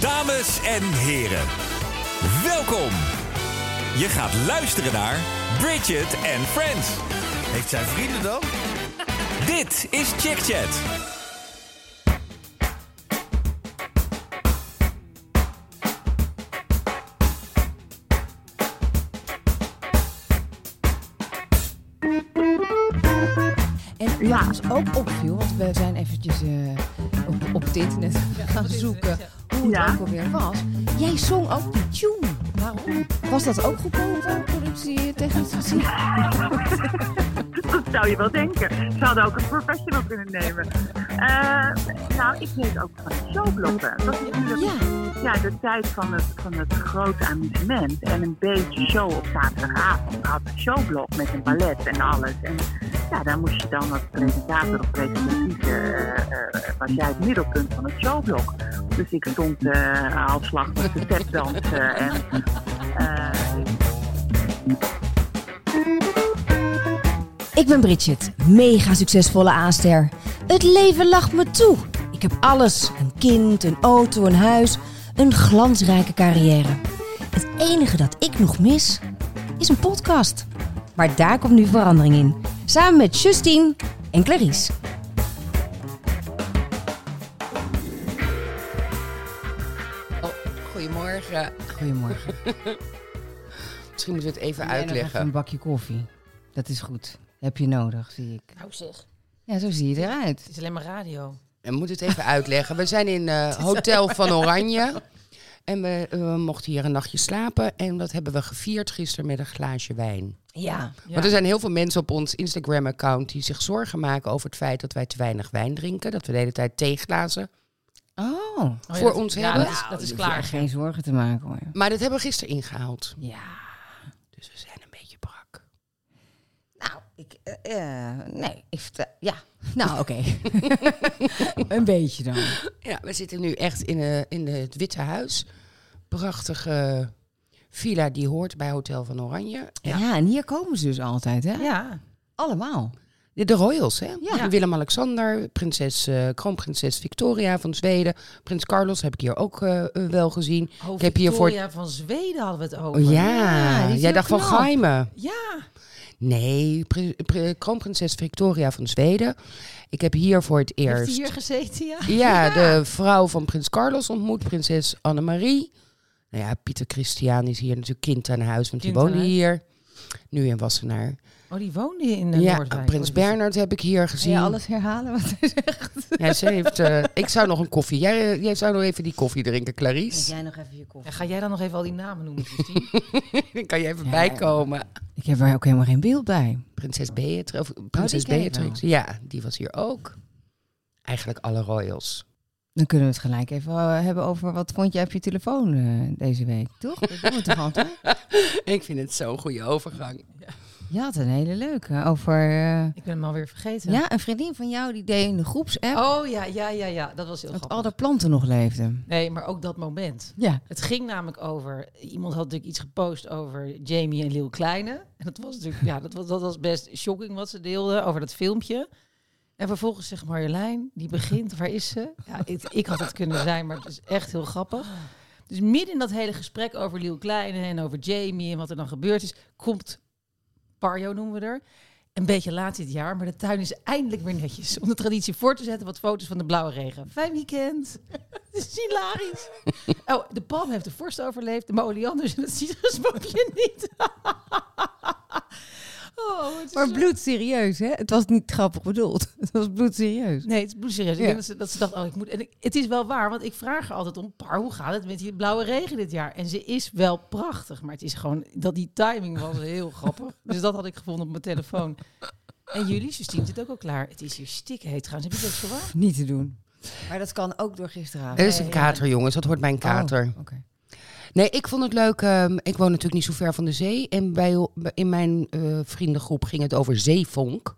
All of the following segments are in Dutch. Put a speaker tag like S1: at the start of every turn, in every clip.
S1: Dames en heren, welkom. Je gaat luisteren naar Bridget and Friends.
S2: Heeft zij vrienden dan?
S1: Dit is Chick Chat.
S3: En wat ons ook opviel, want we zijn eventjes eh, op, op het internet gaan zoeken hoe het
S4: Ja.
S3: ook alweer was. Jij zong ook die tune. Waarom? Was dat ook goedkoop van productie technisch gezien?
S4: Dat zou je wel denken. Ze hadden ook een professional kunnen nemen. Eh, nou, ik weet ook van showblokken. Dat is natuurlijk
S3: Ja,
S4: ja, de tijd van het, van het grote amusement. En een beetje show op zaterdagavond. We hadden een showblok met een ballet en alles. En ja, daar moest je dan als presentator of presentatrice... eh, eh, was jij het middelpunt van het showblok. Dus ik stond eh halfslag met de stepdansen. en eh,
S3: ik ben Bridget, mega succesvolle aanster. Het leven lacht me toe. Ik heb alles: een kind, een auto, een huis, een glansrijke carrière. Het enige dat ik nog mis is een podcast. Maar daar komt nu verandering in. Samen met Justine en Clarice.
S5: Oh,
S6: Goedemorgen.
S3: Goedemorgen.
S6: Misschien moeten we het even
S3: Even een
S6: uitleggen.
S3: bakje koffie. Dat is goed. Heb je nodig, zie ik.
S5: Nou zeg,
S3: Ja, zo zie je eruit.
S5: het is alleen maar radio.
S6: We moeten het even uitleggen. We zijn in eh, Hotel van Oranje. En we, eh, we mochten hier een nachtje slapen. En dat hebben we gevierd gisteren met een glaasje wijn.
S5: Ja.
S6: Want er zijn heel veel mensen op ons Instagram-account die zich zorgen maken over het feit dat wij te weinig wijn drinken. Dat we de hele tijd theeglazen
S3: Oh.
S5: Oh ja,
S6: voor
S5: dat-
S6: ons
S5: ja,
S6: hebben.
S5: dat is, dat is
S3: Je hoeft
S5: klaar.
S3: Geen zorgen te maken hoor.
S6: Maar dat hebben we gisteren ingehaald.
S3: Ja.
S6: Dus we zijn een beetje brak.
S3: Nou, ik. eh, eh, nee, ik vertel- Ja. Nou, oké. een beetje dan.
S6: Ja, we zitten nu echt in, eh, in het Witte Huis. Prachtige villa die hoort bij Hotel van Oranje.
S3: Ja. en hier komen ze dus altijd, hè?
S5: Ja.
S3: Allemaal.
S6: De, de royals, hè?
S3: Ja.
S6: Willem-Alexander, prinses, eh, kroonprinses Victoria van Zweden. Prins Carlos heb ik hier ook eh, eh, wel gezien.
S5: Oh,
S6: Ik heb hier voor-
S5: Victoria van Zweden hadden we het over.
S6: Oh ja,
S3: Ja, die is
S6: jij
S3: heel
S6: dacht van
S3: knap.
S6: Gaime.
S5: Ja.
S6: Nee, pri- pri- kroonprinses Victoria van Zweden. Ik heb hier voor het
S5: Heeft
S6: eerst...
S5: hij hier gezeten, ja?
S6: Ja, de vrouw van prins Carlos ontmoet, prinses Annemarie. Nou ja, Pieter Christian is hier natuurlijk kind aan huis, want
S5: Kind
S6: die
S5: aan
S6: woonde
S5: huis.
S6: hier. Nu in Wassenaar.
S5: Oh, die woonde in eh,
S6: ja,
S5: Noordwijk.
S6: prins Bernard heb ik hier
S3: Zie
S6: gezien.
S3: je alles herhalen? Wat is
S6: Ja, ze heeft, eh, ik zou nog een koffie. Jij, eh, jij zou nog even die koffie drinken, Clarice.
S3: jij nog even je koffie?
S5: Ja, ga jij dan nog even al die namen noemen, Justine?
S6: Dan kan je even
S3: Ja.
S6: bijkomen.
S3: Ik heb er ook helemaal geen beeld bij.
S6: Prinses Beatrix. Of prinses
S3: ken ik
S6: Beatrix. Ja, die was hier ook. Eigenlijk alle royals.
S3: Dan kunnen we het gelijk even eh, hebben over wat vond jij op je telefoon eh, deze week, toch? Dat doen we toch altijd?
S6: ik vind het zo'n goede overgang.
S3: Je had een hele leuke over... eh,
S5: ik ben hem alweer vergeten.
S3: ja, een vriendin van jou die deed in de groepsapp
S5: Oh ja, ja, ja, ja. Dat was heel
S3: dat
S5: grappig.
S3: al de planten nog leefden.
S5: Nee, maar ook dat moment.
S3: Ja.
S5: Het ging namelijk over... Iemand had natuurlijk iets gepost over Jamie en Lil Kleine. En dat was natuurlijk... Ja, dat was, dat was best shocking wat ze deelden over dat filmpje. En vervolgens zegt Marjolein, die begint, waar is ze? Ja, ik, ik had het kunnen zijn, maar het is echt heel grappig. Dus midden in dat hele gesprek over Lil Kleine en over Jamie en wat er dan gebeurd is... komt Parjo, noemen we er... Een beetje laat dit jaar, maar de tuin is eindelijk weer netjes. Om de traditie voor te zetten, wat foto's van de blauwe regen. Fijn weekend. Het is hilarisch. Oh, de palm heeft de vorst overleefd, de oleanders en het citrusboompje niet. oh, het is
S3: Maar
S5: zo-
S3: bloed serieus, hè? Het was niet grappig bedoeld. Het was bloed serieus.
S5: Nee, het is bloedserieus.
S3: Ja.
S5: Ik denk dat ze, dat ze dacht, oh, ik moet... En ik- het is wel waar, want ik vraag er altijd om... Par, hoe gaat het met die blauwe regen dit jaar? En ze is wel prachtig, maar het is gewoon... Dat die timing was heel grappig. Dus dat had ik gevonden op mijn telefoon. En jullie, Justine, zit ook al klaar. Het is hier stikheet gaan. Ze hebben het ook zo warm.
S3: Niet te doen. Maar dat kan ook door gisteravond.
S6: Er is een kater, jongens. Dat hoort bij een kater.
S3: Oh, oké.
S6: Nee, ik vond het leuk. ehm, ik woon natuurlijk niet zo ver van de zee. En bij, in mijn eh, vriendengroep ging het over zeevonk.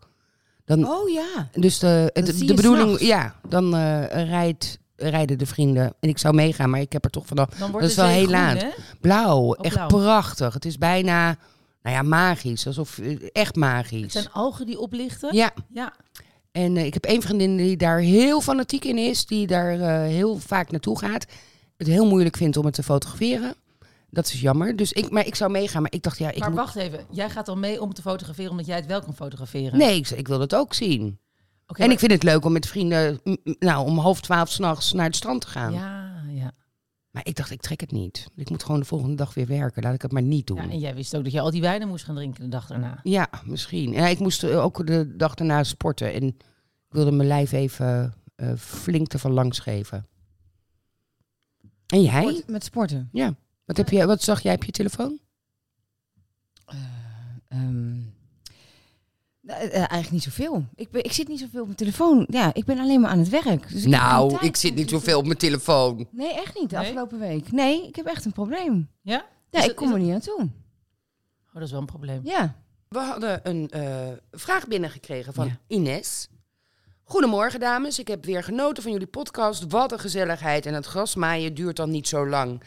S6: Dan,
S3: oh ja.
S6: Dus de,
S3: Dat
S6: het-
S3: zie
S6: de
S3: je
S6: bedoeling,
S3: s'nachts.
S6: ja, dan eh, rijdt, rijden de vrienden. En ik zou meegaan, maar ik heb er toch vanaf.
S5: Dan wordt
S6: Dat is
S5: de
S6: wel
S5: zee
S6: heel
S5: groen,
S6: laat.
S5: hè?
S6: Blauw, echt
S5: blauw.
S6: prachtig. Het is bijna, nou ja, magisch. Alsof, eh, echt
S5: Het
S6: magisch.
S5: zijn algen die oplichten.
S6: Ja,
S5: Ja.
S6: en eh, ik heb één vriendin die daar heel fanatiek in is, die daar eh, heel vaak naartoe gaat. het heel moeilijk vindt om het te fotograferen. Dat is jammer. Dus ik, maar ik zou meegaan. Maar ik dacht, ja, ik
S5: maar
S6: moet-
S5: wacht even, jij gaat dan mee om te fotograferen omdat jij het wel kan fotograferen.
S6: Nee, ik, ik wil dat ook zien.
S5: Oké,
S6: en
S5: maar-
S6: ik vind het leuk om met vrienden m, m, nou, om half twaalf s'nachts naar het strand te gaan.
S5: Ja, ja.
S6: Maar ik dacht, ik trek het niet. Ik moet gewoon de volgende dag weer werken. Laat ik het maar niet doen.
S5: ja.
S6: Ja,
S5: En jij wist ook dat je al die wijnen moest gaan drinken de dag daarna.
S6: misschien. Ja, ik moest eh, ook de dag daarna sporten. En ik wilde mijn lijf even eh, flink ervan langs geven. En jij?
S3: Sport- Met sporten.
S6: Wat, heb je, wat zag jij op je telefoon?
S3: Ehm, nou, eh, eh, eigenlijk niet zoveel. Ik, ben, ik zit niet zoveel op mijn telefoon. Ja, ik ben alleen maar aan het werk. Dus ik heb
S6: Nou,
S3: geen tijd om te-
S6: op mijn telefoon.
S3: Nee, echt niet. De
S5: Nee?
S3: afgelopen week. Nee, ik heb echt een probleem.
S5: Ja?
S3: Ja,
S5: Is
S3: ik
S5: dat-
S3: kom
S5: is
S3: er niet aan toe.
S5: Oh, dat is wel een probleem.
S3: Ja.
S6: We hadden een eh, vraag binnengekregen van
S5: Ja.
S6: Ines. Goedemorgen dames, ik heb weer genoten van jullie podcast. Wat een gezelligheid en het grasmaaien duurt dan niet zo lang.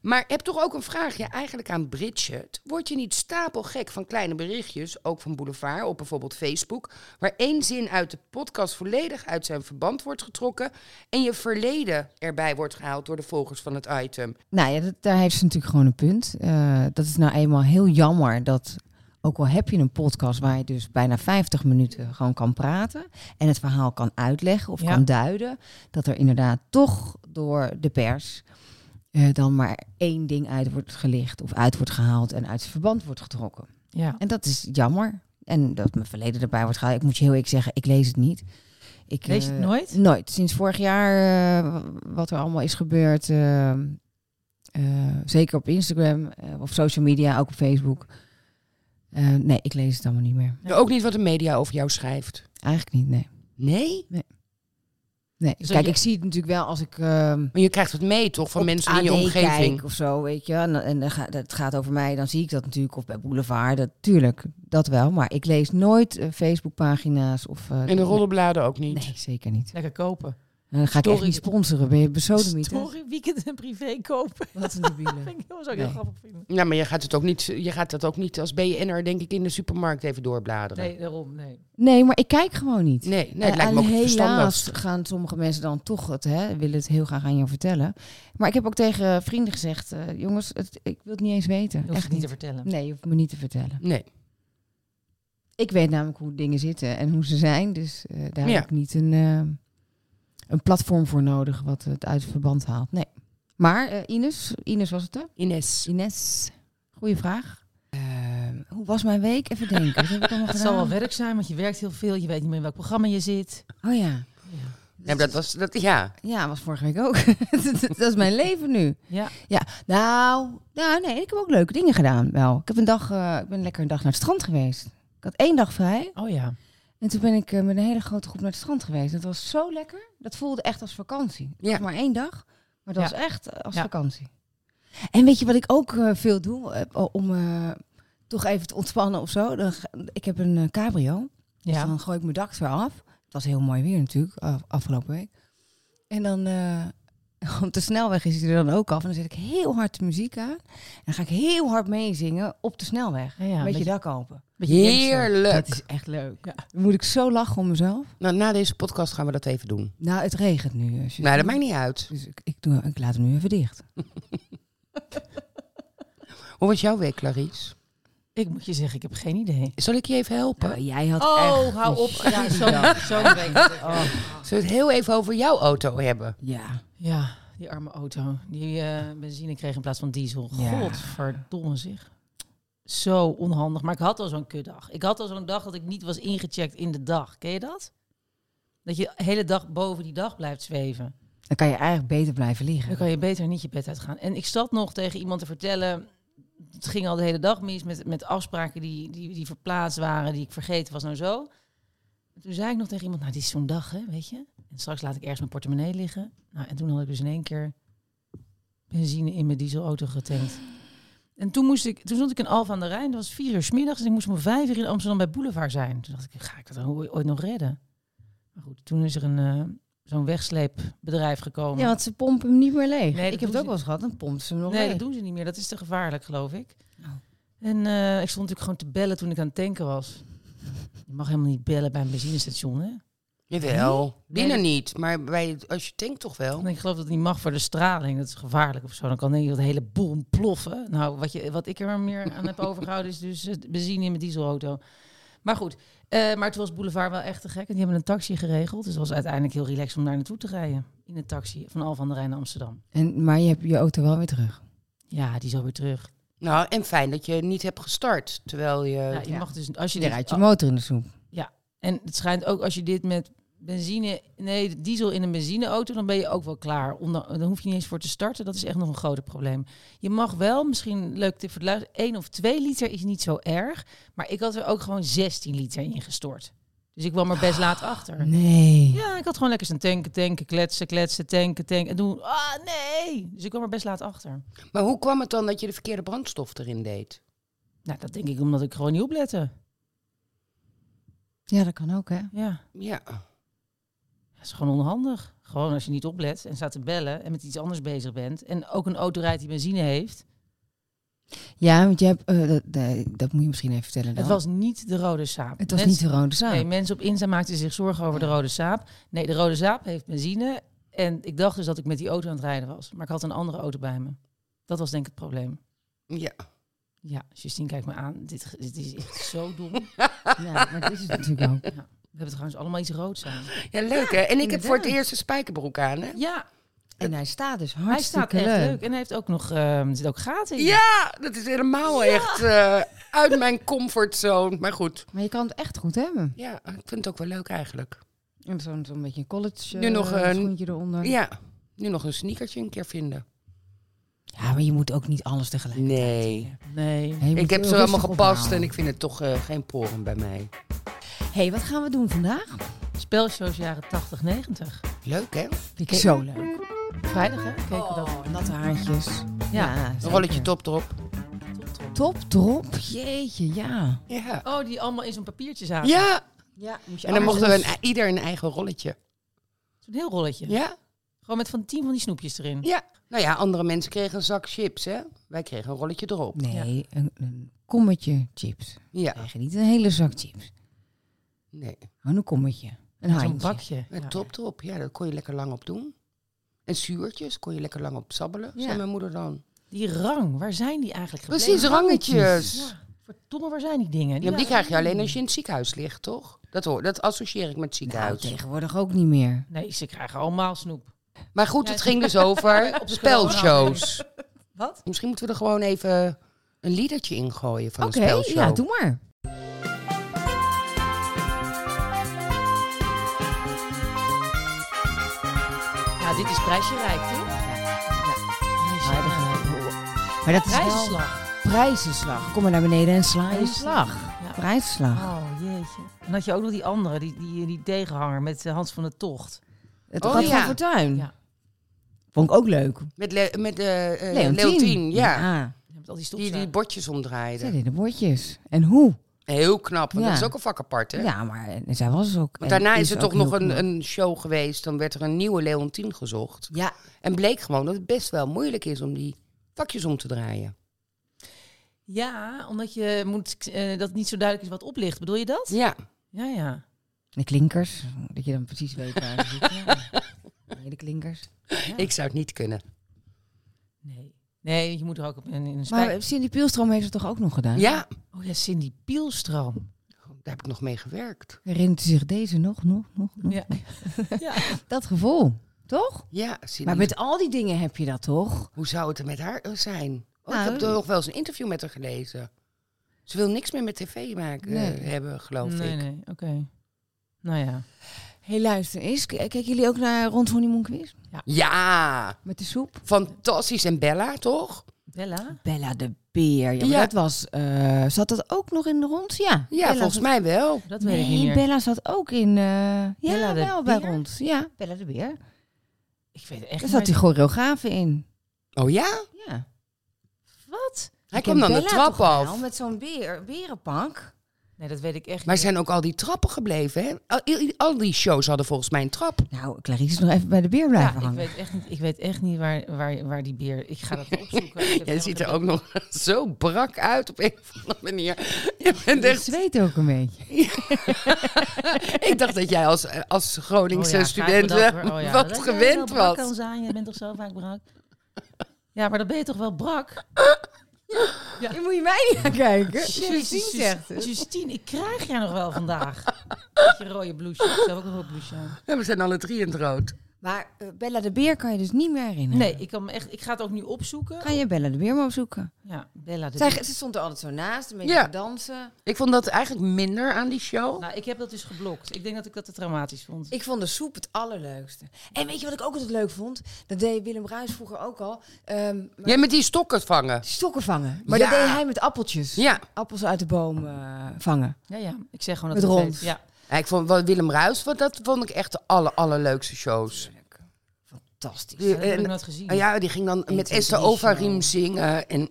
S6: Maar heb toch ook een vraagje eigenlijk aan Bridget. Word je niet stapelgek van kleine berichtjes, ook van Boulevard op bijvoorbeeld Facebook, waar één zin uit de podcast volledig uit zijn verband wordt getrokken en je verleden erbij wordt gehaald door de volgers van het item?
S3: Nou ja, dat, daar heeft ze natuurlijk gewoon een punt. Eh, dat is nou eenmaal heel jammer dat, ook al heb je een podcast waar je dus bijna 50 minuten gewoon kan praten en het verhaal kan uitleggen of
S5: Ja.
S3: kan duiden, dat er inderdaad toch door de pers eh, dan maar één ding uit wordt gelicht of uit wordt gehaald en uit zijn verband wordt getrokken.
S5: Ja.
S3: En dat is jammer. En dat mijn verleden erbij wordt gehaald. Ik moet je heel eerlijk zeggen, ik lees het niet. Ik,
S5: Lees je het
S3: eh,
S5: nooit?
S3: Nooit. Sinds vorig jaar, eh, w- wat er allemaal is gebeurd, eh, eh, zeker op Instagram eh, of social media, ook op Facebook. Eh, nee, ik lees het allemaal niet meer.
S6: Ook niet wat de media over jou schrijft.
S3: Eigenlijk niet, nee.
S6: Nee?
S3: nee.
S5: Dus
S3: Kijk,
S5: je-
S3: ik zie het natuurlijk wel als ik ehm,
S6: Maar je krijgt het mee toch van
S3: op
S6: mensen
S3: AD
S6: in je omgeving?
S3: kijk of zo, weet je. En, en dan ga- dat gaat over mij, dan zie ik dat natuurlijk. Of bij Boulevard, dat, tuurlijk, dat wel. Maar ik lees nooit eh, Facebookpagina's of... eh,
S6: En de roddelbladen ook niet.
S3: Nee, zeker niet.
S5: Lekker kopen.
S3: En Dan ga ik echt
S5: Story.
S3: niet sponsoren. Ben je besodemieter?
S5: Story, weekend en privé kopen.
S3: Wat een debiele.
S5: vind ik heel, zou ik heel
S3: Nee.
S5: grappig vinden.
S6: Ja, maar je gaat, het ook niet, je gaat dat ook niet als BN'er, denk ik, in de supermarkt even doorbladeren. Nee,
S5: Nee, daarom, nee.
S3: Nee, maar ik kijk gewoon niet.
S6: nee, het
S3: Eh,
S6: lijkt me ook
S3: en
S6: niet
S3: helaas
S6: verstandig.
S3: gaan sommige mensen dan toch het, hè, willen het heel graag aan jou vertellen. Maar ik heb ook tegen eh, vrienden gezegd, eh, jongens, het, ik wil het niet eens weten.
S5: Je hoeft
S3: Echt
S5: het niet te vertellen.
S3: Nee, je hoeft me niet te vertellen.
S6: Nee.
S3: Ik weet namelijk hoe dingen zitten en hoe ze zijn. Dus eh, daar
S6: Ja.
S3: heb ik niet een, eh, een platform voor nodig wat het uit het verband haalt. Nee. Maar eh, Ines, Ines was het hè?
S6: Ines.
S3: Ines, goede vraag. Ehm, hoe was mijn week? Even denken. Wat heb ik allemaal
S5: Het zal wel
S3: gedaan?
S5: werk zijn, want je werkt heel veel. Je weet niet meer in welk programma je zit.
S3: Oh ja.
S6: Ja, maar dat was, dat, ja.
S3: Ja, was vorige week ook. dat, dat is mijn leven nu.
S5: Ja.
S3: Ja, nou, nou, nee, ik heb ook leuke dingen gedaan wel. Ik, heb een dag, eh, ik ben lekker een dag naar het strand geweest. Ik had één dag vrij.
S5: Oh ja.
S3: En toen ben ik eh, met een hele grote groep naar het strand geweest. Dat was zo lekker. Dat voelde echt als vakantie. Het
S6: Ja.
S3: was maar één dag, maar dat
S5: Ja.
S3: was echt eh, als
S5: Ja.
S3: vakantie. En weet je wat ik ook eh, veel doe? eh, om eh, toch even te ontspannen of zo. Dan, ga- ik heb een eh, cabrio. Dus
S5: Ja.
S3: dan gooi ik mijn dak eraf. Het was heel mooi weer natuurlijk, af- afgelopen week. En dan eh, op de snelweg is hij er dan ook af. En dan zet ik heel hard de muziek aan. En dan ga ik heel hard meezingen op de snelweg.
S5: Ja, ja,
S3: met je
S5: beetje-
S3: dak open.
S5: Beetje gangster.
S6: Heerlijk.
S3: Dat is echt leuk.
S5: Ja.
S3: Dan moet ik zo lachen om mezelf.
S6: Nou, na deze podcast gaan we dat even doen.
S3: Nou, het regent nu. eh, Justine.
S6: Nou, dat maakt niet uit.
S3: Dus ik, ik, doe, ik laat hem nu even dicht.
S6: Hoe was jouw week, Clarice?
S5: Ik moet je zeggen, ik heb geen idee.
S6: Zal ik je even helpen?
S3: Nou, jij had
S5: Oh,
S3: echt dus-
S5: hou
S3: een
S5: op. Ja,
S3: shitty
S5: zo,
S3: dag.
S5: zo weet ik. Oh.
S6: Zullen we het heel even over jouw auto hebben?
S3: Ja.
S5: Ja, die arme auto. Die eh, benzine kreeg in plaats van diesel.
S3: Ja.
S5: Godverdomme zich. Zo onhandig. Maar ik had al zo'n kutdag. Ik had al zo'n dag dat ik niet was ingecheckt in de dag. Ken je dat? Dat je de hele dag boven die dag blijft zweven.
S3: Dan kan je eigenlijk beter blijven liggen.
S5: Dan kan je beter niet je bed uitgaan. En ik zat nog tegen iemand te vertellen... Het ging al de hele dag mis met, met afspraken die, die, die verplaatst waren... die ik vergeten was nou zo. En toen zei ik nog tegen iemand... Nou, dit is zo'n dag, hè, weet je. En straks laat ik ergens mijn portemonnee liggen. Nou, en toen had ik dus in één keer benzine in mijn dieselauto getankt. En toen, moest ik, toen stond ik in Alphen aan de Rijn. Dat was vier uur 's middags. En ik moest om vijf uur in Amsterdam bij Boulevard zijn. Toen dacht ik, ga ik dat ooit ooit nog redden? Maar goed, toen is er een, eh, zo'n wegsleepbedrijf gekomen.
S3: Ja, want ze pompen hem niet meer leeg.
S5: Nee, dat
S3: ik heb
S5: doen
S3: het
S5: ze-
S3: ook wel eens gehad, dan pompt ze hem nog
S5: Nee,
S3: leeg.
S5: dat doen ze niet meer. Dat is te gevaarlijk, geloof ik.
S3: Oh.
S5: En eh, ik stond natuurlijk gewoon te bellen toen ik aan het tanken was. Je mag helemaal niet bellen bij een benzinestation, hè?
S6: Jawel. Binnen
S5: Nee,
S6: niet, maar bij, het- als je tankt toch wel.
S5: Want
S3: Oh.
S5: ik geloof dat het niet mag voor de straling. Dat is gevaarlijk of zo. Dan kan denk ik dat hele boel ontploffen. Nou, wat, je, wat ik er meer aan heb overgehouden is dus het benzine in mijn dieselauto. Maar goed, eh, maar toen was Boulevard wel echt te gek. En die hebben een taxi geregeld. Dus het was uiteindelijk heel relaxed om daar naartoe te rijden. In een taxi van Al van der Rijn naar Amsterdam.
S3: En, maar je hebt je auto wel weer terug.
S5: Ja, die is alweer terug.
S6: Nou, en fijn dat je niet hebt gestart. Terwijl je.
S5: Ja, je mag dus, als je
S3: Je
S5: dit-
S3: rijdt je motor in de soep.
S5: En het schijnt ook als je dit met benzine, nee, diesel in een benzineauto, dan ben je ook wel klaar. Onder, dan hoef je niet eens voor te starten. Dat is echt nog een groter probleem. Je mag wel, misschien een leuk tip voor de luister, 1 of 2 liter is niet zo erg. Maar ik had er ook gewoon 16 liter in gestort. Dus ik kwam er best laat achter.
S3: Nee.
S5: Ja, ik had gewoon lekker staan tanken, tanken, kletsen, kletsen, tanken, tanken. En toen, ah nee! Dus ik kwam er best laat achter.
S6: Maar hoe kwam het dan dat je de verkeerde brandstof erin deed?
S5: Nou, dat denk ik omdat ik gewoon niet oplette.
S3: Ja, dat kan ook, hè?
S5: Ja.
S6: Ja.
S5: Dat is gewoon onhandig. Gewoon als je niet oplet en staat te bellen en met iets anders bezig bent. En ook een auto rijdt die benzine heeft.
S3: Ja, want je hebt, eh, dat, nee, dat moet je misschien even vertellen dan.
S5: Het was niet de rode saap.
S3: het was
S5: Mensen-
S3: niet de rode zaak.
S5: Nee, mensen op Insta maakten zich zorgen over de rode saap. Nee, de rode saap heeft benzine. En ik dacht dus dat ik met die auto aan het rijden was. Maar ik had een andere auto bij me. Dat was denk ik het probleem.
S6: Ja.
S5: Ja, Justine kijkt me aan. Dit, dit is echt zo dom.
S3: Ja, maar het is het natuurlijk ook.
S5: We hebben trouwens allemaal iets roods aan.
S6: Ja, leuk hè? En ik heb voor het
S3: inderdaad.
S6: eerst een spijkerbroek aan hè?
S5: Ja,
S3: En hij staat dus
S5: hij staat
S3: hartstikke
S5: echt leuk.
S3: leuk.
S5: En hij heeft ook nog, ehm, er zit ook gaten in.
S6: Ja, dat is helemaal echt eh, uit mijn comfortzone. Maar goed,
S3: Maar je kan het echt goed hebben.
S6: ja, ik vind het ook wel leuk eigenlijk.
S3: En zo'n zo'n beetje een college
S6: Nu
S3: eh,
S6: nog een-
S3: schoentje eronder. Ja.
S6: Ja, nu nog een sneakertje een keer vinden.
S3: maar je moet ook niet alles tegelijk.
S6: Nee,
S5: Nee.
S3: Hè, je moet
S6: ik heb
S3: heel
S6: ze allemaal
S3: rustig
S6: gepast
S3: opbouwen.
S6: en ik vind het toch eh, geen poren bij mij.
S3: hey, wat gaan we doen vandaag?
S5: Spelshows jaren 80, 90.
S6: Leuk hè?
S3: Vind ik zo leuk.
S5: Vrijdag, hè? Keken we dat.
S6: Oh,
S3: Natte haartjes.
S5: Oh. Ja.
S6: Een rolletje top erop.
S3: Top, drop. Jeetje, ja.
S6: Ja.
S5: Oh, die allemaal in zo'n papiertje zaten.
S6: Ja,
S3: ja
S6: en dan mochten we een- ieder een eigen rolletje.
S5: Zo'n heel rolletje.
S6: Ja?
S5: Gewoon met van tien van die snoepjes erin.
S6: Ja. Nou ja, andere mensen kregen een zak chips hè? Wij kregen een rolletje erop.
S3: Nee, een, een kommetje chips.
S6: Ja,
S3: Krijg je niet een hele zak chips.
S6: nee.
S3: Gewoon een kommetje. Een
S5: Zo'n
S3: handje.
S5: bakje.
S6: Een
S5: Ja.
S6: top erop, ja, daar kon je lekker lang op doen. En zuurtjes kon je lekker lang op sabbelen,
S3: Ja.
S6: zei mijn moeder dan.
S5: Die rang, waar zijn die eigenlijk gebleven?
S6: Precies, rangetjes.
S5: Ja. Verdomme, waar zijn die dingen?
S6: Ja, maar die
S5: waren-
S6: krijg je alleen als je in het ziekenhuis ligt, toch? Dat, hoor, dat associeer ik met
S3: Nou,
S6: het ziekenhuis.
S3: tegenwoordig ook niet meer.
S5: Nee, ze krijgen allemaal snoep.
S6: maar goed, het ging dus over
S5: Op de
S6: spelshows.
S5: Wat?
S6: Misschien moeten we er gewoon even een liedertje in gooien van
S3: Oké,
S6: een spelshow.
S3: ja, doe maar.
S5: Ja, dit is prijsje rijk, toch? Ja.
S3: Maar dat-
S5: Prijsje
S3: Maar dat is wel
S5: Prijzenslag.
S3: prijzenslag. Kom maar naar beneden en sla je slag.
S5: Ja.
S3: Prijzenslag.
S5: Oh, jeetje. En dan had je ook nog die andere, die, die, die tegenhanger met eh, Hans van de Tocht.
S3: Het
S6: Oh,
S3: Rad
S6: ja.
S3: van Fortuin.
S5: Ja.
S3: Vond ik ook leuk.
S6: Met, Le- met eh, eh,
S3: Leontien.
S6: Leontien, ja.
S5: Ja, Met al die
S6: Die die
S5: stofzuigers.
S6: bordjes
S3: Zij
S6: omdraaiden.
S3: deden bordjes. En hoe?
S6: Heel knap, want
S3: Ja.
S6: dat is ook een vak apart, hè?
S3: Ja, maar en zij was dus ook...
S6: Want
S3: en
S6: daarna is er toch
S3: ook
S6: nog
S3: heel
S6: een,
S3: knap.
S6: een show geweest, dan werd er een nieuwe Leontien gezocht.
S3: Ja,
S6: En bleek gewoon dat het best wel moeilijk is om die vakjes om te draaien.
S5: Ja, omdat je moet, eh, dat het niet zo duidelijk is wat oplicht. Bedoel je dat?
S6: Ja,
S5: Ja, ja.
S3: de klinkers. Dat je dan precies weet waar ze zitten. Ja. De klinkers.
S6: ik zou het niet kunnen.
S5: Nee. Nee, je moet er ook op in, in een spijker.
S3: Maar Cindy Pielstroom heeft het toch ook nog gedaan?
S6: Ja,
S5: Oh ja, Cindy Pielstroom.
S6: daar heb ik nog mee gewerkt.
S3: Herinnert u zich deze nog, nog, nog, nog?
S5: Ja. ja.
S3: Dat gevoel, toch?
S6: Ja, Cindy.
S3: Maar met al die dingen heb je dat toch?
S6: Hoe zou het er met haar eh, zijn? Oh,
S3: Nou,
S6: ik heb er nog wel eens een interview met haar gelezen. Ze wil niks meer met tv maken, eh,
S3: Nee.
S6: hebben, geloof
S5: Nee,
S6: ik.
S5: nee, oké. Nou ja.
S3: Hé, hey, luister eens. K- Kijken jullie ook naar Rond Honeymoon Quiz?
S6: Ja,
S3: Met de soep?
S6: fantastisch. En Bella, toch?
S5: Bella?
S3: Bella de Beer. Ja, maar
S6: Ja.
S3: dat was... eh, zat dat ook nog in de rond? Ja.
S6: Ja,
S3: Bella
S6: volgens
S3: zat-
S6: mij wel.
S5: Dat weet
S3: Nee,
S5: ik niet meer.
S3: Bella zat ook in... eh ja,
S5: Bella de
S3: wel bij
S5: Beer?
S3: rond. Ja, Bella de Beer.
S5: Ik weet echt
S3: Daar
S5: niet
S3: zat die
S5: meer.
S3: choreografe in.
S6: Oh ja?
S3: Ja.
S5: Wat?
S6: Hij
S3: Ik
S6: kwam
S3: ken
S6: dan de
S3: Bella
S6: trap
S3: toch wel,
S6: af.
S3: met zo'n beer, berenpak.
S5: Nee, dat weet ik echt
S6: Maar
S5: niet.
S6: zijn ook al die trappen gebleven, hè? Al, i- al die shows hadden volgens mij een trap.
S3: Nou, Clarice is nog even bij de beer
S5: Ja,
S3: blijven
S5: ik
S3: hangen.
S5: weet echt niet, ik weet echt niet waar, waar, waar die beer... Ik ga dat opzoeken. Ik heb
S6: Jij
S5: helemaal
S6: ziet
S5: geen-
S6: er ook nog zo brak uit op een of andere manier. Je bent
S3: Ik
S6: echt
S3: zweet ook een beetje.
S6: Ik dacht dat jij als, eh, als Groningse
S5: Oh ja,
S6: student
S5: graag bedankt
S6: eh,
S5: hoor. Oh ja,
S6: wat
S5: dat jij wel
S6: gewend
S5: brak
S6: was.
S5: kan zijn. Je bent toch zo vaak brak? Ja, maar dan ben je toch wel brak?
S3: Je moet je mij niet aankijken.
S5: Jezus,
S3: Justine zegt het.
S5: Justine, ik krijg jou nog wel vandaag. Met je rode blouseje. Ik zou ook een rood blouseje aan.
S6: Ja, we zijn alle drie in het rood.
S3: Maar eh, Bella de Beer kan je dus niet meer herinneren.
S5: Nee, ik, kan me echt, ik ga het ook nu opzoeken.
S3: Ga je Bella de Beer maar opzoeken?
S5: Ja, Bella de
S3: Zij, ze stond er altijd zo naast, een beetje
S6: Ja.
S3: te dansen.
S6: Ik vond dat eigenlijk minder aan die show.
S5: Nou, ik heb dat dus geblokt. Ik denk dat ik dat te traumatisch vond.
S3: Ik vond de soep het allerleukste. En weet je wat ik ook altijd leuk vond? Dat deed Willem Bruis vroeger ook al. Ehm, maar
S6: Jij met die stokken vangen.
S3: Stokken vangen. Maar
S6: Ja.
S3: dat deed hij met appeltjes.
S6: Ja.
S3: Appels uit de boom eh, vangen.
S5: Ja, ja. Ik zeg gewoon
S3: Met
S5: dat ik het
S3: rond. Eh,
S5: weet. Ja.
S6: Ja, ik vond wel Willem Ruis, want dat vond ik echt de aller, allerleukste shows.
S3: Fantastisch.
S6: Die-
S5: Dat heb ik
S6: en-
S5: nooit gezien.
S6: Ah ja, die ging dan
S3: Eén,
S6: met
S3: twee,
S6: Esther
S3: drie
S6: Ovariem zingen. En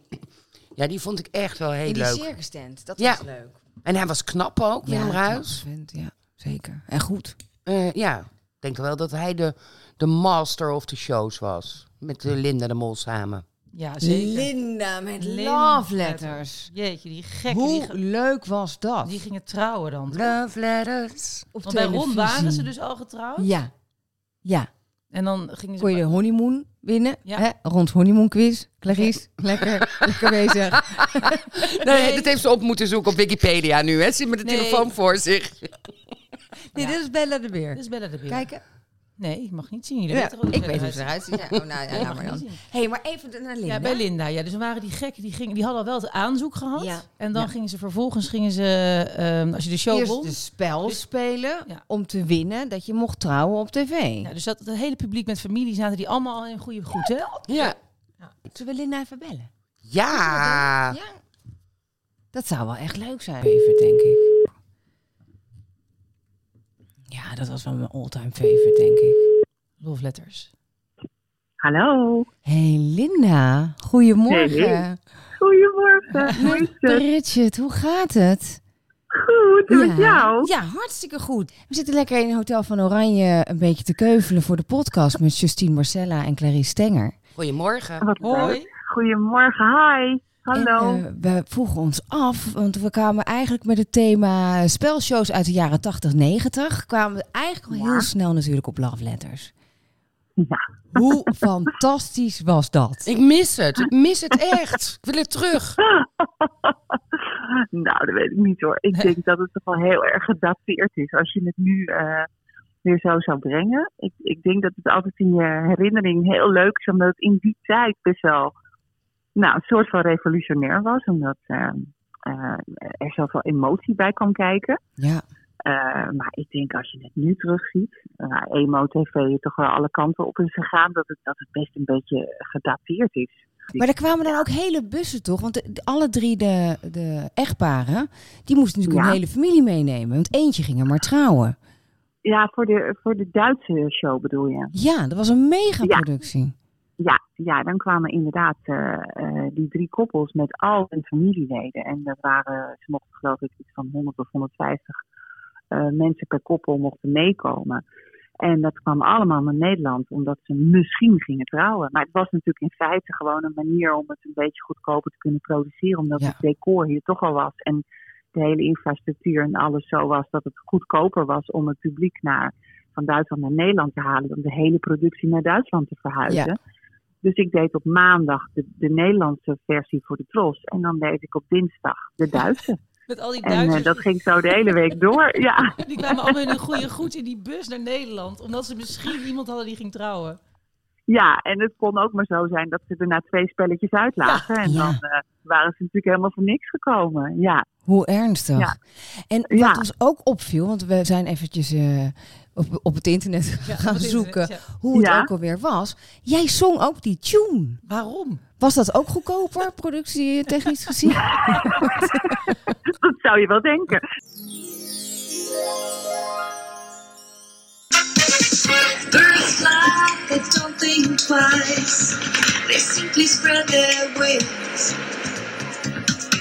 S6: ja, die vond ik echt wel heel
S3: In die
S6: leuk.
S3: circus tent. Dat
S6: Ja.
S3: was leuk.
S6: En hij was knap ook, Willem
S3: Ja,
S6: Ruis.
S3: Vent, ja, zeker. En goed.
S6: Eh, ja, ik denk wel dat hij de, de master of the shows was. Met eh, Linda de Mol samen.
S5: Ja, zeker.
S3: Linda met
S5: Lin-
S3: love letters.
S5: Jeetje, die gek. Die,
S3: Hoe
S5: ge-
S3: leuk was dat?
S5: die gingen trouwen dan.
S6: Love letters.
S3: Op
S5: Want bij Ron waren ze
S3: televisie.
S5: dus al getrouwd.
S3: Ja. Ja.
S5: En dan gingen ze...
S3: Kon je de honeymoon winnen?
S5: Ja.
S3: Hè? Rond honeymoon quiz. Clarice, lekker, lekker bezig.
S6: Nee, dat heeft ze op moeten zoeken op Wikipedia nu. Hè? Ze zit met de
S5: Nee.
S6: telefoon voor zich.
S3: Nee, dit is Bella de Beer.
S5: Dit is Dus Bella de Beer.
S3: Kijken.
S5: Nee, je mag niet zien. Jullie
S3: Ja,
S5: weten gewoon
S3: ik
S5: hoe
S3: weet hoe
S5: eruit
S3: ze eruit ziet. Ja, oh, nou, ja, nou maar dan.
S5: zien.
S3: hey, maar even naar Linda.
S5: Ja, bij Linda. Ja, dus dan waren die gekken, die, gingen, die hadden al wel het aanzoek gehad.
S3: Ja.
S5: En dan gingen ze vervolgens, gingen ze, ehm, als je de show
S3: Eerst
S5: won...
S3: de spel spelen
S5: Ja.
S3: om te winnen dat je mocht trouwen op tv.
S5: Ja, dus dat het hele publiek met familie zaten die allemaal al in goede goed, hè?
S6: Ja.
S3: Zullen we Linda even bellen?
S6: Ja.
S3: Ja. Dat zou wel echt leuk zijn. Favorite, denk ik. Ja, dat was wel mijn all-time favorite, denk ik.
S5: Love letters.
S4: Hallo,
S3: Hey Linda, goedemorgen.
S4: goedemorgen. Hoe is het?
S3: Bridget, hoe gaat het?
S4: Goed, en met jou?
S3: ja, hartstikke goed. We zitten lekker in Hotel van Oranje een beetje te keuvelen voor de podcast met Justine Marcella en Clarice Stenger.
S6: Goedemorgen.
S4: Wat leuk.
S5: Hoi.
S4: Goedemorgen, hi. Hallo.
S3: En, eh, we vroegen ons af, want we kwamen eigenlijk met het thema spelshows uit de jaren 80, 90. Kwamen we eigenlijk al heel snel natuurlijk op Love Letters.
S4: Ja.
S3: Hoe fantastisch was dat?
S6: Ik mis het. Ik mis het echt. Ik wil het terug.
S4: Nou, dat weet ik niet hoor. Ik denk dat het toch wel heel erg gedateerd is als je het nu eh, weer zo zou brengen. Ik, ik denk dat het altijd in je herinnering heel leuk is, omdat het in die tijd best wel nou, een soort van revolutionair was. Omdat eh, eh, er zoveel emotie bij kwam kijken.
S3: Ja,
S4: Eh, maar ik denk als je het nu terugziet, waar emo-tv toch wel alle kanten op is gegaan, dat het, dat het best een beetje gedateerd is.
S3: maar er kwamen dan ook hele bussen toch? Want de- de- alle drie de, de echtparen, die moesten natuurlijk
S4: Ja.
S3: hun hele familie meenemen. Want eentje ging er maar trouwen.
S4: Ja, voor de, voor de Duitse show bedoel je?
S3: Ja, dat was een megaproductie.
S4: Ja, ja dan kwamen inderdaad eh, eh, die drie koppels met al hun familieleden. En dat waren, ze mochten geloof ik iets van 100 of 150 eh, mensen per koppel mochten meekomen. En dat kwam allemaal naar Nederland, omdat ze misschien gingen trouwen. Maar het was natuurlijk in feite gewoon een manier om het een beetje goedkoper te kunnen produceren. Omdat
S3: Ja.
S4: het decor hier toch al was. En de hele infrastructuur en alles zo was dat het goedkoper was om het publiek naar, van Duitsland naar Nederland te halen. Dan de hele productie naar Duitsland te verhuizen.
S3: Ja.
S4: Dus ik deed op maandag de, de Nederlandse versie voor de Tros. En dan deed ik op dinsdag de Duitse.
S5: Met al die
S4: En eh,
S5: Duitsers.
S4: dat ging zo de hele week door. Ja.
S5: Die kwamen allemaal in een goede goed in die bus naar Nederland. Omdat ze misschien iemand hadden die ging trouwen.
S4: ja, en het kon ook maar zo zijn dat ze er na twee spelletjes uit lagen. En
S3: Ja.
S4: dan eh, waren ze natuurlijk helemaal voor niks gekomen. Ja,
S3: Hoe ernstig.
S4: Ja.
S3: En wat
S4: Ja.
S3: ons ook opviel, want we zijn eventjes eh, op, op het internet gaan
S5: Wat is het?
S3: zoeken
S5: Ja.
S3: hoe het
S4: Ja.
S3: ook alweer was. Jij zong ook die tune.
S5: Waarom?
S3: Was dat ook goedkoper, productietechnisch gezien?
S4: dat zou je wel denken.
S7: Birds fly, they don't think twice. They simply spread their wings.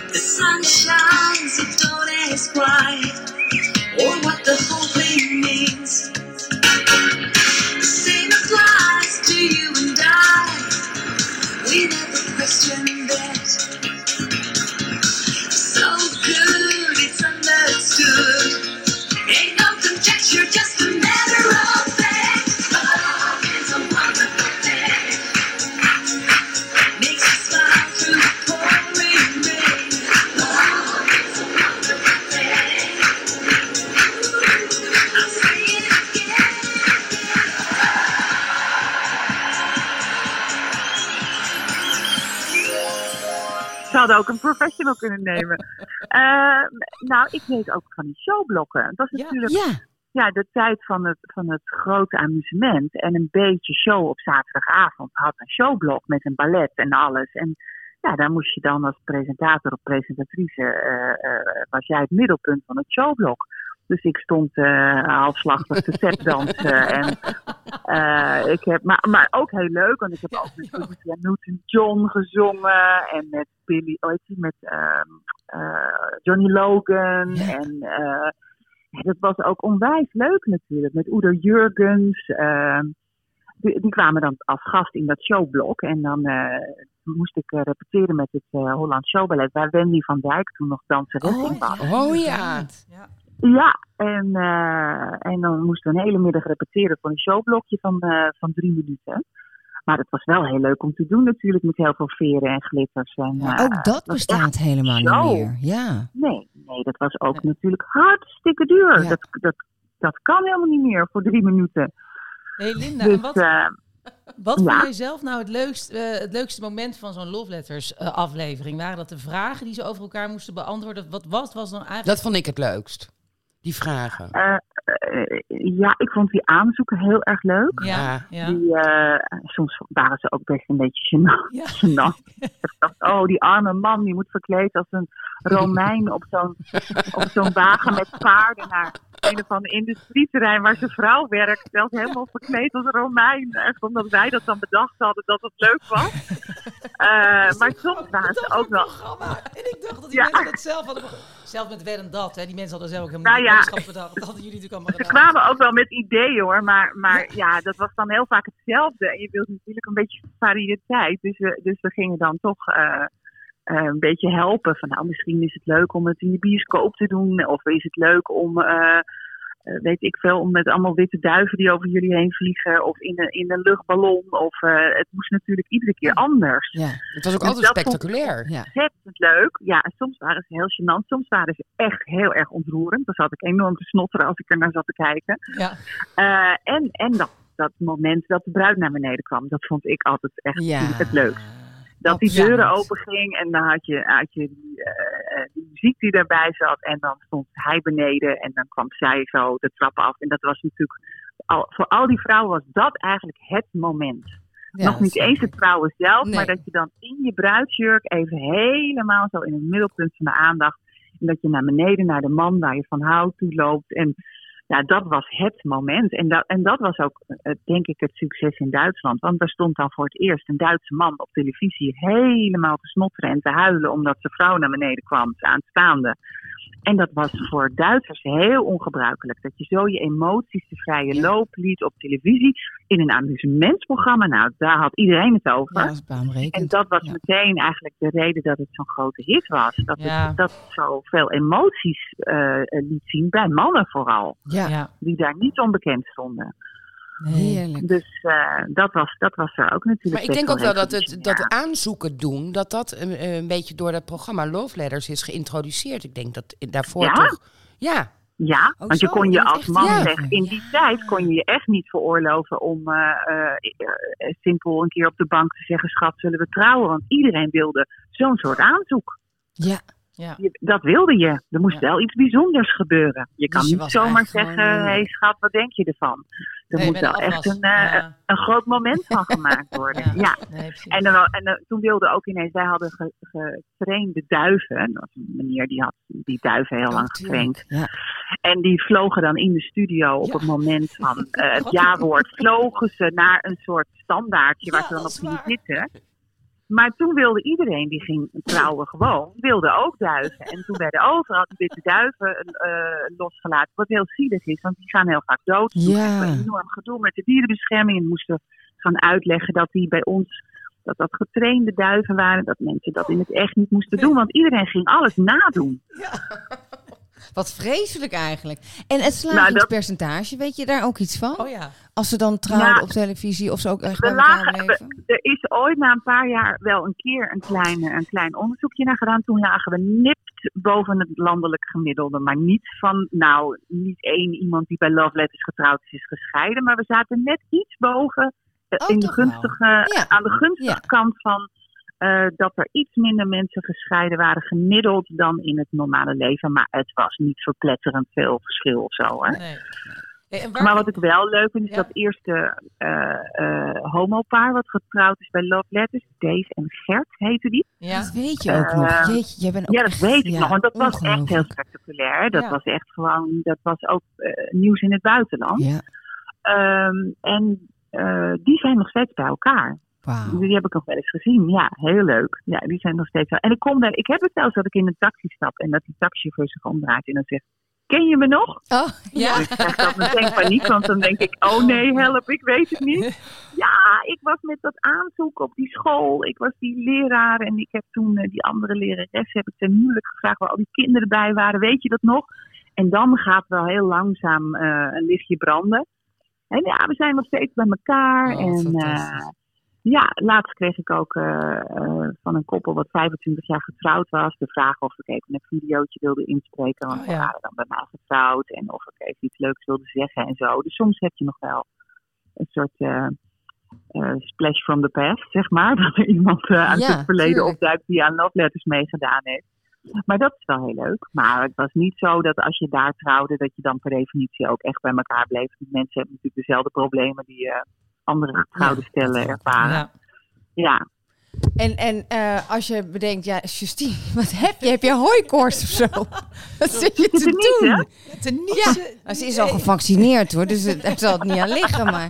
S7: The sun shines, they don't ask why or what the whole thing means. The same applies to you and I. We never question that. So good Oh, Oh,
S4: hadden ook een professional kunnen nemen. Eh, nou, ik weet ook van die showblokken. Dat was
S5: Ja.
S4: natuurlijk
S8: Ja,
S4: ja, de tijd van het, van het grote amusement en een beetje show op zaterdagavond had een showblok met een ballet en alles. En ja, daar moest je dan als presentator of presentatrice, eh, eh, was jij het middelpunt van het showblok. Dus ik stond eh halfslachtig te tapdansen. en, eh, ik heb, maar, maar ook heel leuk, want ik heb ook met Olivia Newton-John gezongen. En met Billy, oh, heet die, met ehm, eh, Johnny Logan. En eh, ja, dat was ook onwijs leuk natuurlijk. Met Udo Jurgens. eh, die, die kwamen dan als gast in dat showblok. En dan eh, moest ik eh, repeteren met het eh Holland Showballet. Waar Wendy van Dijk toen nog danseres in was.
S6: Oh ja.
S5: ja.
S4: Ja, en, eh, en dan moesten we een hele middag repeteren voor een showblokje van, eh, van drie minuten. Maar dat was wel heel leuk om te doen natuurlijk. Met heel veel veren en glitters. En,
S8: maar
S4: eh,
S6: Oh.
S8: ook dat
S4: was
S8: bestaat helemaal
S4: zo.
S8: niet meer. Ja.
S4: Nee, nee, dat was ook natuurlijk hartstikke duur.
S8: Ja.
S4: Dat, dat, dat kan helemaal niet meer voor drie minuten.
S5: Hey Linda, en
S4: dus
S5: wat,
S4: eh,
S5: wat
S4: ja.
S5: vond jij zelf nou het, leukst, eh, het leukste moment van zo'n Love Letters eh, aflevering? Waren dat de vragen die ze over elkaar moesten beantwoorden? Wat, wat was dan eigenlijk...
S6: Dat vond ik het leukst. Die vragen.
S4: eh, ja, ik vond die aanzoeken heel erg leuk.
S5: Ja,
S6: Ja.
S5: ja.
S4: Die, eh, soms waren ze ook best een beetje gênant.
S5: Ja.
S4: gênant. Ik dacht, oh, die arme man die moet verkleed als een Romein op zo'n op zo'n wagen met paarden naar een of ander industrieterrein waar zijn vrouw werkt. Zelfs helemaal verkleed als een Romein. Echt omdat wij dat dan bedacht hadden dat het leuk was. Eh, maar soms waren
S5: Dat
S4: ze
S5: was
S4: ook
S5: een
S4: wel
S5: programma. En ik dacht dat die
S4: Ja.
S5: mensen dat zelf hadden... be- Zelf met Wer en Dat, hè. Die mensen hadden zelf ook helemaal
S4: Nou
S5: nou,
S4: ja.
S5: ja. bedacht. Dat hadden jullie natuurlijk allemaal
S4: Ze
S5: gedaan.
S4: kwamen ook wel met ideeën hoor, maar, maar ja, dat was dan heel vaak hetzelfde. En je wilt natuurlijk een beetje variëteit. Dus we, dus we gingen dan toch eh, eh, een beetje helpen. Van nou, misschien is het leuk om het in de bioscoop te doen. Of is het leuk om, eh, eh, weet ik veel, om met allemaal witte duiven die over jullie heen vliegen. Of in een, in een luchtballon. Of eh, het moest natuurlijk iedere keer anders
S8: Ja.
S6: Het was ook
S4: Dus
S6: altijd
S4: dat vond-
S6: spectaculair.
S4: ontzettend leuk. Ja, en soms waren ze heel gênant. Soms waren ze echt heel erg ontroerend. Dan zat ik enorm te snotteren als ik er naar zat te kijken.
S5: Ja.
S4: Eh, en en dat, dat moment dat de bruid naar beneden kwam, dat vond ik altijd echt
S8: Ja.
S4: het leukst. Dat die
S5: Absoluut.
S4: deuren open ging en dan had je, had je die, eh, eh, die muziek die daarbij zat. En dan stond hij beneden en dan kwam zij zo de trap af. En dat was natuurlijk, al, voor al die vrouwen was dat eigenlijk het moment. Nog niet eens het trouwen zelf,
S8: Nee.
S4: maar dat je dan in je bruidsjurk even helemaal zo in het middelpunt van de aandacht. En dat je naar beneden naar de man waar je van houdt toe loopt. En ja, Nou, dat was het moment. En dat, en dat was ook, eh, denk ik, het succes in Duitsland. Want daar stond dan voor het eerst een Duitse man op televisie helemaal te snotteren en te huilen. omdat zijn vrouw naar beneden kwam, ze aanstaande. En dat was voor Duitsers heel ongebruikelijk. Dat je zo je emoties de vrije loop liet op televisie. in een amusementsprogramma. Nou, daar had iedereen het over.
S8: Ja, dat is baanbrekend.
S4: En dat was
S8: Ja.
S4: meteen eigenlijk de reden dat het zo'n grote hit was. Dat
S5: Ja.
S4: het dat zoveel emoties eh, eh, liet zien, bij mannen vooral,
S8: Ja.
S5: Ja.
S4: die daar niet onbekend stonden.
S8: Heerlijk.
S4: Dus eh, dat, was, dat was er ook natuurlijk.
S6: Maar ik
S4: best
S6: denk ook wel dat
S4: revolutionair.
S6: het dat aanzoeken doen, dat dat een, een beetje door dat programma Love Letters is geïntroduceerd. Ik denk dat daarvoor
S4: Ja?
S6: toch. Ja,
S4: Ja,
S8: Oh,
S4: want je
S8: zo,
S4: kon
S8: in
S4: je
S8: het
S4: als
S8: echte
S4: man
S8: leven.
S4: zeg, in die tijd kon je je echt niet veroorloven om eh, eh, eh, simpel een keer op de bank te zeggen, schat, zullen we trouwen? Want iedereen wilde zo'n soort aanzoek.
S8: Ja.
S4: Je- dat wilde je. Er moest wel iets bijzonders gebeuren. Je kan
S8: je
S4: niet
S8: was
S4: zomaar
S8: eigenlijk
S4: zeggen,
S8: gewoon, eh,
S4: hey, schat, wat denk je ervan? Er
S5: Nee,
S4: moet
S5: met
S4: wel
S5: een
S4: echt
S5: afwas.
S4: een, eh,
S5: Ja.
S4: een groot moment van gemaakt worden.
S5: Ja.
S4: ja.
S5: Nee, precies.
S4: En, dan, wel- en dan- toen wilden ook ineens, wij hadden ge- getrainde duiven. Dat was een meneer die had die duiven heel lang getraind.
S8: Ja.
S4: En die vlogen dan in de studio op
S5: Ja.
S4: het moment van eh, het ja-woord. Vlogen ze naar een soort standaardje waar
S5: Ja,
S4: ze dan op
S5: dat is
S4: gingen
S5: waar.
S4: zitten. Maar toen wilde iedereen die ging trouwen gewoon, wilde ook duiven. En toen werden overal die witte duiven eh, losgelaten. Wat heel zielig is, want die gaan heel vaak dood. Toen
S8: Ja.
S4: kregen we een enorm gedoe met de dierenbescherming. En moesten gaan uitleggen dat die bij ons dat dat getrainde duiven waren. Dat mensen dat in het echt niet moesten doen. Want iedereen ging alles nadoen.
S8: Wat vreselijk eigenlijk. En het
S4: Nou,
S8: slagingspercentage, weet je daar ook iets van?
S5: Oh ja.
S8: Als ze dan trouwden
S4: Ja.
S8: op televisie of ze ook echt
S4: We
S8: bij elkaar
S4: lagen,
S8: bleven?
S4: we- er is ooit na een paar jaar wel een keer een klein, een klein onderzoekje naar gedaan. Toen lagen we nipt boven het landelijk gemiddelde. Maar niet van, nou, niet één iemand die bij Love Letters getrouwd is, is gescheiden. Maar we zaten net iets boven eh,
S8: Oh,
S4: in de
S8: toch wel.
S4: gunstige,
S8: Ja.
S4: aan de gunstige
S8: Ja.
S4: kant van eh, dat er iets minder mensen gescheiden waren gemiddeld dan in het normale leven. Maar het was niet verpletterend veel verschil of zo. Hè?
S5: Nee. Hey, en waar-
S4: Maar wat ik wel leuk vind, is
S5: Ja.
S4: dat eerste eh eh homopaar wat getrouwd is bij Love Letters. Dave en Gert heette die.
S5: Ja.
S3: Dat weet je ook nog.
S4: Eh,
S3: Jeetje, jij bent ook
S4: Ja, dat
S3: echt-
S4: weet ik
S3: ja,
S4: nog. Want dat was echt heel
S3: ongelooflijk.
S4: spectaculair. hè. Dat
S5: Ja.
S4: was echt gewoon, dat was ook eh, nieuws in het buitenland.
S3: Ja,
S4: Ehm, en eh, die zijn nog steeds bij elkaar.
S3: wauw.
S4: Die heb ik nog wel eens gezien. Ja, heel leuk. Ja, die zijn nog steeds wel. En ik kom daar, ik heb het zelfs dat ik in een taxi stap en dat die taxichauffeur zich omdraait en dan zegt. Ken je me nog?
S3: Oh,
S5: Ja.
S4: Ik krijg dat meteen paniek, want dan denk ik, oh nee, help, ik weet het niet. Ja, ik was met dat aanzoek op die school. Ik was die leraar en ik heb toen eh, die andere lerares, heb ik ten huwelijk gevraagd waar al die kinderen bij waren. Weet je dat nog? En dan gaat wel heel langzaam eh, een lichtje branden. En ja, we zijn nog steeds bij elkaar.
S6: Oh,
S4: en
S6: fantastisch.
S4: eh, ja, laatst kreeg ik ook eh, eh, van een koppel wat 25 jaar getrouwd was de vraag of ik even een videootje wilde inspreken. Want
S5: Oh,
S4: ze
S5: ja.
S4: waren dan bij mij getrouwd. En of ik even iets leuks wilde zeggen en zo. Dus soms heb je nog wel een soort eh, eh, splash from the past, zeg maar. Dat er iemand eh, uit
S3: Ja,
S4: het verleden
S3: tuurlijk.
S4: opduikt die aan love letters meegedaan heeft. Maar dat is wel heel leuk. Maar het was niet zo dat als je daar trouwde, dat je dan per definitie ook echt bij elkaar bleef. Die mensen hebben natuurlijk dezelfde problemen die eh, andere getrouwde stellen ervaren. Ja.
S5: Ja.
S3: En, en eh, als je bedenkt, ja, Justine, wat heb je? Heb je hooikoorts of zo? Wat zit je
S4: Zit er
S3: te
S4: niet, hè?
S3: doen?
S5: Te niezen.
S3: Nou, ze is al gevaccineerd hoor, dus het, daar zal het niet aan liggen. Maar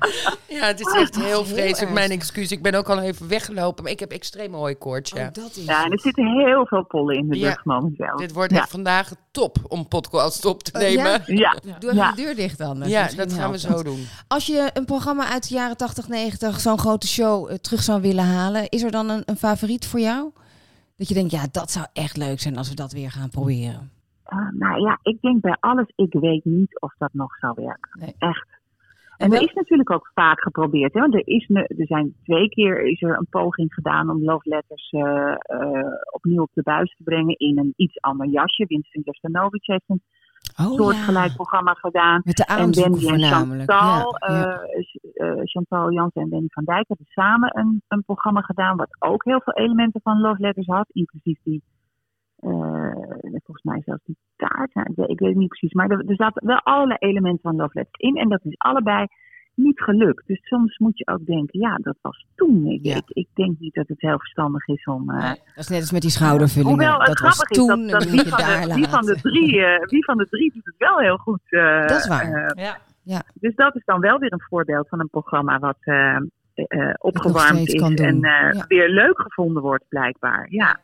S6: Ja, het is echt heel vreselijk.
S3: erg.
S6: Mijn excuus. Ik ben ook al even weggelopen. Maar ik heb extreme hooikoorts, ja.
S3: Oh, dat is
S4: Ja, en er zitten heel veel pollen in de
S6: Ja.
S4: lucht momenteel.
S6: Dit wordt
S4: ja.
S6: echt vandaag top om podcast op te
S3: Oh, ja?
S6: nemen.
S4: Ja.
S3: Doe even
S4: Ja.
S3: de deur dicht dan.
S6: Ja,
S3: Misschien
S6: dat gaan we
S3: helpt dat.
S6: zo doen.
S3: Als je een programma uit de jaren 80, 90, zo'n grote show eh, terug zou willen halen, is er dan een, een favoriet voor jou? Dat je denkt, ja, dat zou echt leuk zijn als we dat weer gaan proberen.
S4: Ah, nou ja, ik denk bij alles, ik weet niet of dat nog zou werken.
S5: Nee.
S4: Echt.
S5: En
S4: En er
S5: wel-
S4: is natuurlijk ook vaak geprobeerd. Hè? Want er, is ne- er zijn twee keer is er een poging gedaan om Love Letters eh, eh, opnieuw op de buis te brengen in een iets ander jasje. Winston Jastanovic heeft een
S3: Oh
S4: soortgelijk programma gedaan.
S3: Met de
S4: En
S3: aanzoeken
S4: Wendy en
S3: voornamelijk.
S4: Chantal,
S3: ja, ja.
S4: eh, S- eh, Chantal Jansen en Wendy van Dijk hebben samen een, een programma gedaan wat ook heel veel elementen van Love Letters had, inclusief die, eh, volgens mij zelfs die taart, Nou, ik, weet, ik weet het niet precies, maar er, er zaten wel allerlei elementen van Love Letters in en dat is allebei niet gelukt. Dus soms moet je ook denken, ja, dat was toen. Ik,
S3: Ja.
S4: ik, ik denk niet dat het heel verstandig is om... eh,
S3: Nee, dat is net als met die schoudervullingen.
S4: Hoewel het
S3: dat was
S4: grappig is
S3: toen,
S4: dat,
S3: en
S4: dat
S3: dan
S4: wie,
S3: moet je
S4: van
S3: daar
S4: de, wie, van de
S3: laten.
S4: drie, eh, wie van de drie doet het wel heel goed. eh,
S3: Dat is waar.
S4: eh,
S5: Ja.
S3: Ja.
S4: dus dat is dan wel weer een voorbeeld van een programma wat eh, eh, opgewarmd
S3: steeds
S4: is
S3: kan doen.
S4: en eh,
S3: Ja.
S4: weer leuk gevonden wordt blijkbaar. Ja.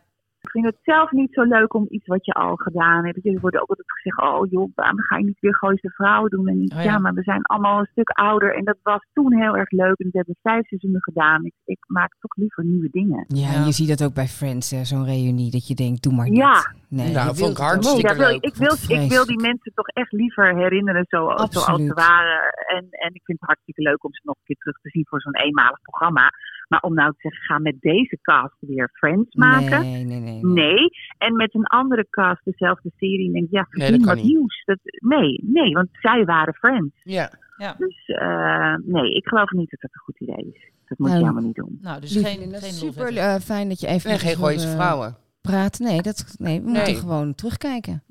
S4: Ik vind het zelf niet zo leuk om iets wat je al gedaan hebt. Er wordt ook altijd gezegd, oh joh, waarom ga je niet weer Gooise Vrouwen doen? En iets?
S5: Oh ja.
S4: ja. maar we zijn allemaal een stuk ouder. En dat was toen heel erg leuk. En dat hebben we vijf seizoenen gedaan. Ik, ik maak toch liever nieuwe dingen.
S3: Ja,
S5: Ja.
S3: je ziet dat ook bij Friends, hè, zo'n reunie. Dat je denkt, doe maar niet.
S4: Ja.
S3: Nee,
S6: Nou,
S3: je
S6: vond
S3: wilt
S6: ik
S3: het
S6: hard.
S3: ook.
S4: Nee,
S6: Hartstikke
S4: daar wil, ik,
S6: leuk.
S4: ik, wil, ik wil die
S3: Vreselijk.
S4: mensen toch echt liever herinneren zo, zoals ze
S3: Absoluut.
S4: waren. En, en ik vind het hartstikke leuk om ze nog een keer terug te zien voor zo'n eenmalig programma. Maar om nou te zeggen, ga met deze cast weer Friends maken. Nee.
S3: Nee, nee, nee.
S4: En met een andere cast dezelfde serie. denk ik, ja,
S6: Nee,
S4: verzin
S6: dat kan
S4: wat
S6: niet.
S4: nieuws. Dat, nee, nee, want zij waren Friends.
S6: Ja.
S4: Dus eh, nee, ik geloof niet dat dat een goed idee is. Dat moet
S3: Nou,
S4: je helemaal niet doen.
S5: Nou, dus
S3: Lief,
S5: geen, geen
S3: super
S5: lolvetter.
S3: eh, fijn dat je even
S6: En geen gooise vrouwen.
S3: praat. eh, Nee, dat, nee we
S6: Nee.
S3: moeten gewoon terugkijken.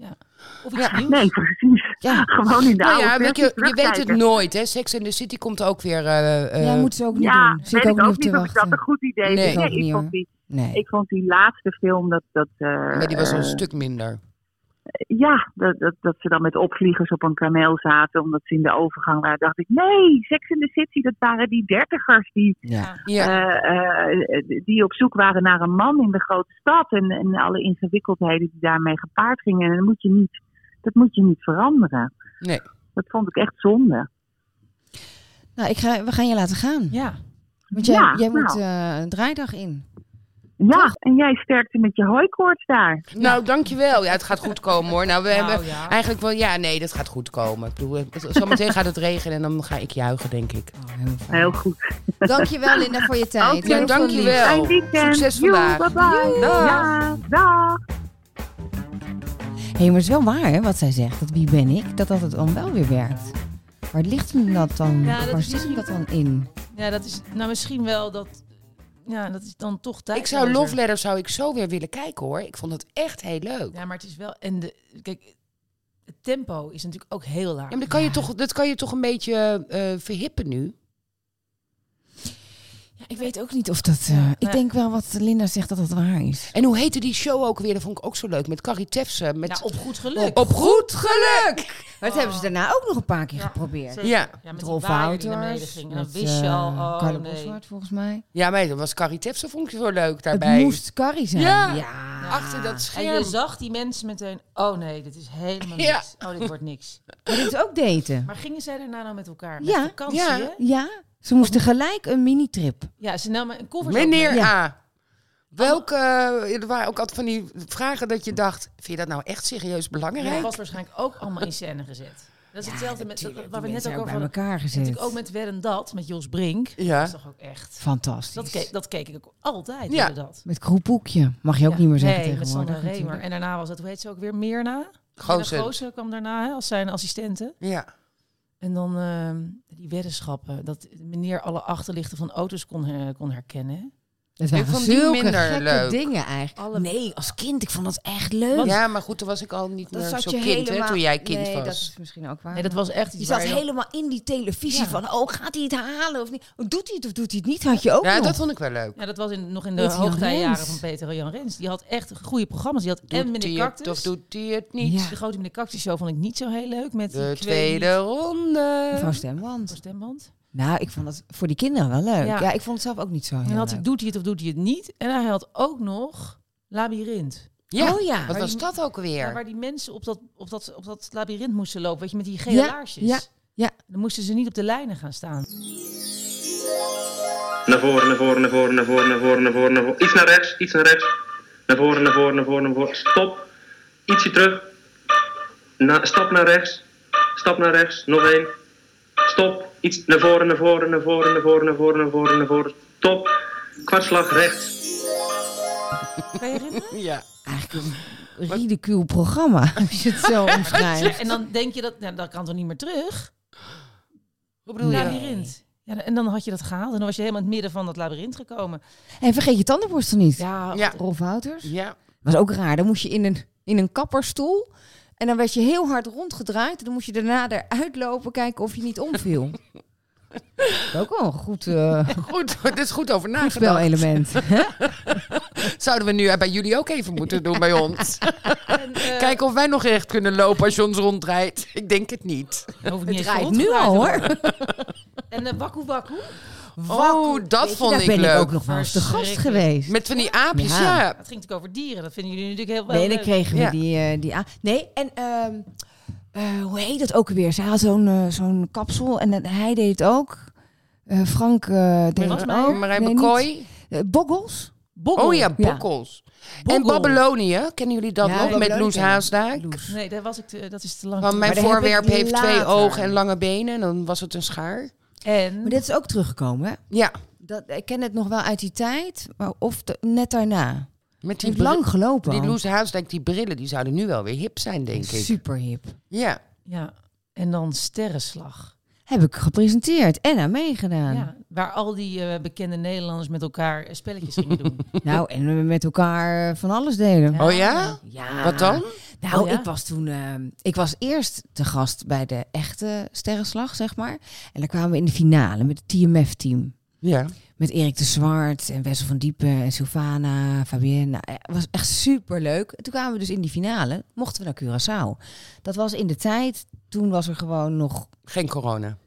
S5: Of iets nieuws.
S4: Nee, precies.
S3: Ja,
S4: Gewoon in de
S6: Nou
S4: oude
S6: ja, weet
S4: versie
S6: je, je weet het
S4: terugkijken.
S6: nooit, hè. Sex in the City komt ook weer... eh, eh,
S3: ja, moeten ze ook niet
S4: Ja,
S3: doen. Zit
S4: weet
S3: ik ook Dus niet op te
S4: niet of ik dat
S3: wachten.
S4: een goed idee is.
S6: Nee.
S3: Ik ook
S4: Nee,
S3: niet,
S4: ik vond
S3: hoor.
S4: die
S3: Nee.
S4: Ik vond die laatste film dat. dat eh,
S6: maar die was al een
S4: eh,
S6: stuk minder.
S4: ja, dat, dat, dat ze dan met opvliegers op een kameel zaten, omdat ze in de overgang waren. Dacht ik, nee, Sex in the City, dat waren die dertigers die,
S6: Ja.
S4: eh, eh, die op zoek waren naar een man in de grote stad. En, en alle ingewikkeldheden die daarmee gepaard gingen. En dat moet je niet, dat moet je niet veranderen.
S6: Nee.
S4: Dat vond ik echt zonde.
S3: Nou, ik ga, we gaan je laten gaan.
S5: Ja.
S3: Want jij,
S4: Ja,
S3: jij
S4: nou.
S3: moet eh, een draaidag in.
S4: Ja, en jij sterkte met je hooikoorts daar.
S6: Nou, dankjewel. Ja, het gaat goed komen hoor. Nou, we
S5: Nou,
S6: hebben
S5: ja.
S6: eigenlijk wel. Ja, nee, dat gaat goed komen. Ik bedoel, het- zometeen gaat het regenen en dan ga ik juichen, denk ik.
S3: Oh, heel fijn.
S4: Heel
S6: Nou,
S4: goed.
S3: Dankjewel Linda voor je tijd.
S4: Oké.
S3: Heel
S6: Ja,
S3: veel
S6: dankjewel.
S4: Fijn weekend.
S6: Succes
S4: Joe,
S6: vandaag.
S4: Bye bye.
S6: Dag.
S4: Ja, dag.
S3: lief. Hé, maar het is wel waar hè, wat zij zegt. Dat wie ben ik, dat dat het dan wel weer werkt. Waar ligt hem dat dan?
S5: Ja, dat
S3: Waar
S5: is
S3: zit hem
S5: misschien-
S3: dat dan in?
S5: Ja, dat is nou misschien wel dat ja, dat is dan toch tijd.
S6: Ik zou Love Letter zou ik zo weer willen kijken hoor. Ik vond het echt heel leuk. Ja,
S5: Ja, maar het is wel. En de, kijk, het tempo is natuurlijk ook heel laag.
S6: maar dat kan, je toch, dat kan je toch een beetje eh, verhippen nu?
S3: Ja, ik weet ook niet of dat... eh, Ik
S5: Nee.
S3: denk wel wat Linda zegt dat dat waar is.
S6: En hoe heette die show ook weer? Dat vond ik ook zo leuk. Met Carrie Tefse. Met...
S5: Nou, op goed geluk.
S6: Op goed geluk!
S3: Maar dat hebben ze daarna ook nog een paar keer
S5: Ja,
S3: geprobeerd.
S5: zeker.
S6: Ja.
S5: Ja, met
S3: Met
S5: die
S3: Rolf
S5: waaier die naar
S3: Wouters,
S5: beneden ging. En dan
S3: met,
S5: wist je
S3: eh,
S5: al, oh
S3: Carlo
S5: nee.
S3: Boszart, volgens mij.
S6: ja, maar dat was Carrie Tefse vond ik zo leuk daarbij.
S3: Het moest Carrie zijn.
S6: Ja.
S3: ja.
S6: Achter dat
S5: En
S6: scherm.
S5: je zag die mensen meteen, oh nee, dit is helemaal
S6: Ja.
S5: niks. Oh, dit wordt niks.
S3: Maar dit is ook daten.
S5: Maar gingen zij daarna nou met elkaar? Met
S3: Ja,
S5: vakantie,
S6: ja.
S5: hè?
S3: Ja, ze moesten gelijk een mini-trip.
S5: Ja, ze namen een koffer.
S6: Meneer
S3: Ja.
S6: A. Welke, eh, er waren ook altijd van die vragen dat je dacht, vind je dat nou echt serieus
S5: Ja,
S6: belangrijk?
S5: was waarschijnlijk ook allemaal in scène gezet. Dat is hetzelfde met,
S3: Tuurlijk,
S5: waar we
S3: die
S5: net
S3: mensen
S5: ook
S3: hebben
S5: over
S3: bij
S5: hadden.
S3: elkaar gezet.
S5: Natuurlijk ook met Wer en Dat, met Jos Brink. Dat
S6: Ja.
S5: is toch ook echt...
S3: Fantastisch.
S5: Dat keek, dat keek ik ook altijd,
S6: Ja.
S5: ja. dat.
S3: Met kroepboekje. Mag je ook niet meer zeggen
S5: nee, met
S3: tegenwoordig.
S5: Sandra Remer.
S3: natuurlijk.
S5: En daarna was dat, hoe heet ze ook weer, Mirna?
S6: Goossen.
S5: Mirna Goossen kwam daarna hè, als zijn assistente.
S6: Ja.
S5: En dan ehm, die weddenschappen, dat meneer alle achterlichten van auto's kon, her- kon herkennen. hè.
S3: Dat
S6: Ik
S3: waren
S6: vond die
S3: zulke
S6: minder
S3: gekke
S6: leuk.
S3: dingen eigenlijk.
S5: Alle-
S3: Nee, als kind, ik vond dat echt leuk.
S6: ja, maar goed, toen was ik al niet meer zo kind hè, toen jij kind was.
S3: dat is misschien ook waar.
S5: Nee, dat was echt iets
S3: je zat
S5: waar je-
S3: helemaal in die televisie
S5: Ja.
S3: van, oh, gaat hij het halen of niet? Oh, doet hij het of doet hij het niet? Had je ook
S6: ja,
S3: nog.
S6: dat vond ik wel leuk.
S5: Ja, dat was in, nog in de
S3: Peter Jan
S5: hoogtijjaren
S3: Rens.
S5: van Peter Jan Rens. Die had echt goede programma's. Die had en
S6: Doet
S5: meneer
S6: hij het of
S5: Cactus.
S6: doet hij het niet?
S3: Ja.
S5: De grote meneer Cactus show vond ik niet zo heel leuk. Met
S6: De
S5: die
S6: tweede ronde.
S3: Mevrouw Stemwand.
S5: stemband.
S3: Nou, ik vond het voor die kinderen wel leuk.
S5: Ja.
S3: Ja, ik vond het zelf ook niet zo heel
S5: En dan had hij
S3: leuk.
S5: doet hij het of doet hij het niet. En hij had ook nog Labyrinth.
S6: Ja,
S3: Oh ja.
S6: wat
S3: Maar
S6: was
S3: die-
S6: dat ook
S5: Ja,
S6: weer?
S5: waar die mensen op dat, op, dat, op dat labyrinth moesten lopen. Weet je, met die gele
S3: Ja,
S5: laarsjes.
S3: ja, ja.
S5: Dan moesten ze niet op de lijnen gaan staan.
S9: Naar voren, naar voren, naar voren, naar voren, naar voren, naar voren, naar voren. Iets naar rechts, iets naar rechts. Naar voren, naar voren, naar voren, naar voren. Stop. Ietsje terug. Na, stap naar rechts. Stap naar rechts. Nog één. Stop. Iets naar voren, naar voren, naar voren, naar voren, naar voren, naar voren, naar voren. Stop. Kwartslag rechts.
S5: Kan je herinneren?
S6: Ja.
S3: Eigenlijk een ridicule programma, als je het zo omschrijft.
S5: En dan denk je dat, nou, dat kan toch niet meer terug?
S6: Hoe bedoel je?
S5: Labyrinth. Ja, en dan had je dat gehaald. En dan was je helemaal in het midden van dat labyrinth gekomen.
S3: En vergeet je tandenborstel niet.
S5: Ja,
S6: Ja.
S3: Rolf Wouters.
S6: Ja.
S3: was ook raar. Dan moest je in een, in een kapperstoel. En dan werd je heel hard rondgedraaid. En dan moest je daarna eruit lopen, kijken of je niet omviel. ook wel een goed, eh
S6: Goed, het is goed over
S3: goed
S6: nagedacht.
S3: spelelement.
S6: Zouden we nu bij jullie ook even moeten doen bij ons.
S5: En, eh,
S6: Kijken of wij nog recht kunnen lopen als je ons rondrijdt. Ik denk het niet.
S5: dan hoef ik
S3: Het
S5: niet eens
S3: draait
S5: rond te
S3: nu
S5: draaien.
S3: al hoor.
S5: En eh wakku wakku.
S6: Oh, dat
S3: Weet je,
S6: vond
S3: daar
S6: ik
S3: ben
S6: leuk.
S3: ik ook nog wel eens te gast
S5: Verschrikkelijk.
S3: geweest.
S6: Met van die aapjes,
S3: Ja.
S6: ja.
S5: Dat ging natuurlijk over dieren. Dat vinden jullie natuurlijk heel wel
S3: Nee, dan
S5: leuk.
S3: kregen we
S6: Ja.
S3: die, eh, die aan. Nee, en ehm, eh, hoe heet dat ook weer? Zij had zo'n eh, zo'n kapsel en eh, hij deed het ook. Eh, Frank eh deed het
S5: Wasmeijer?
S3: ook.
S6: Marijn
S3: Nee,
S6: Bekooi.
S3: niet. Eh, Boggels.
S5: Boggel.
S6: Oh ja,
S3: Ja.
S6: bokkels. En
S5: Boggel.
S6: Babylonië, kennen jullie dat
S3: Ja,
S6: nog? Met
S3: Babylonië
S6: Loes
S3: kennen we.
S6: Haasdijk.
S3: Loes.
S5: Nee, daar was ik te- dat is te lang.
S6: Van mijn
S3: Maar daar heb
S6: voorwerp
S3: ik
S6: heeft twee
S3: later.
S6: ogen en lange benen. En dan was het een schaar.
S5: En
S3: Maar dit is ook teruggekomen, hè?
S6: Ja,
S3: Dat, ik ken het nog wel uit die tijd, maar of de- net daarna.
S6: met
S3: Het
S6: die,
S3: heeft
S6: bril-
S3: lang gelopen.
S6: die
S3: al.
S6: Loes Haasdijk, die brillen, die zouden nu wel weer hip zijn, denk ik.
S3: Super hip.
S6: Ja.
S5: ja, en dan sterrenslag.
S3: Heb ik gepresenteerd en aan meegedaan.
S5: Ja, waar al die eh, bekende Nederlanders met elkaar eh, spelletjes gingen doen.
S3: Nou, en we met elkaar eh, van alles deden.
S5: Ja.
S6: Oh ja?
S3: Ja.
S6: Wat dan?
S3: Nou,
S5: Oh ja?
S3: ik was toen. ehm, ik was eerst te gast bij de echte sterrenslag, zeg maar. En dan kwamen we in de finale met het TMF-team.
S6: Ja.
S3: Met Erik de Zwart en Wessel van Diepen en Sylvana, Fabienne. Nou, eh, Het was echt super leuk. Toen kwamen we dus in die finale. Mochten we naar Curaçao. Dat was in de tijd. Toen was er gewoon nog
S6: Geen corona.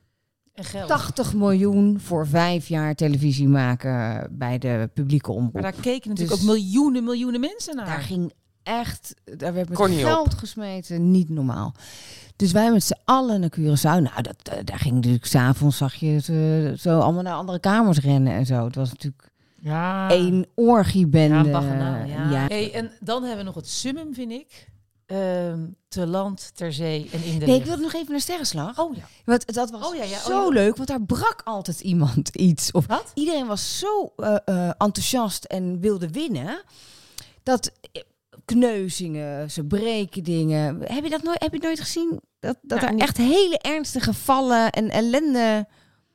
S5: En geld.
S3: 80 miljoen voor vijf jaar televisie maken bij de publieke
S5: Maar
S3: omroep.
S5: daar keken natuurlijk
S3: Dus-
S5: ook miljoenen, miljoenen mensen naar.
S3: Daar ging echt, daar werd met
S6: Kon niet
S3: geld gesmeten, niet normaal. Dus wij met z'n allen naar Curaçao. Nou, dat, eh, daar ging natuurlijk s'avonds, zag je ze zo allemaal naar andere kamers rennen en zo. Het was natuurlijk
S5: ja.
S3: één orgiebende.
S5: Ah. Ja, een baganaal, ja.
S3: eh, Ja.
S5: Hey, en dan hebben we nog het summum, vind ik. Ehm, te land, ter zee en in de
S3: Nee, ik
S5: lucht.
S3: wilde nog even naar Sterrenslag.
S5: Oh ja.
S3: Want dat was
S5: Oh ja, ja, oh
S3: zo
S5: ja.
S3: leuk, want daar brak altijd iemand iets. Of
S5: Wat?
S3: Iedereen was zo eh, eh, enthousiast en wilde winnen. Dat eh, kneuzingen, ze breken dingen. Heb je dat nooit, heb je nooit gezien? Dat, dat
S5: Nou,
S3: er
S5: niet-
S3: echt hele ernstige vallen en ellende.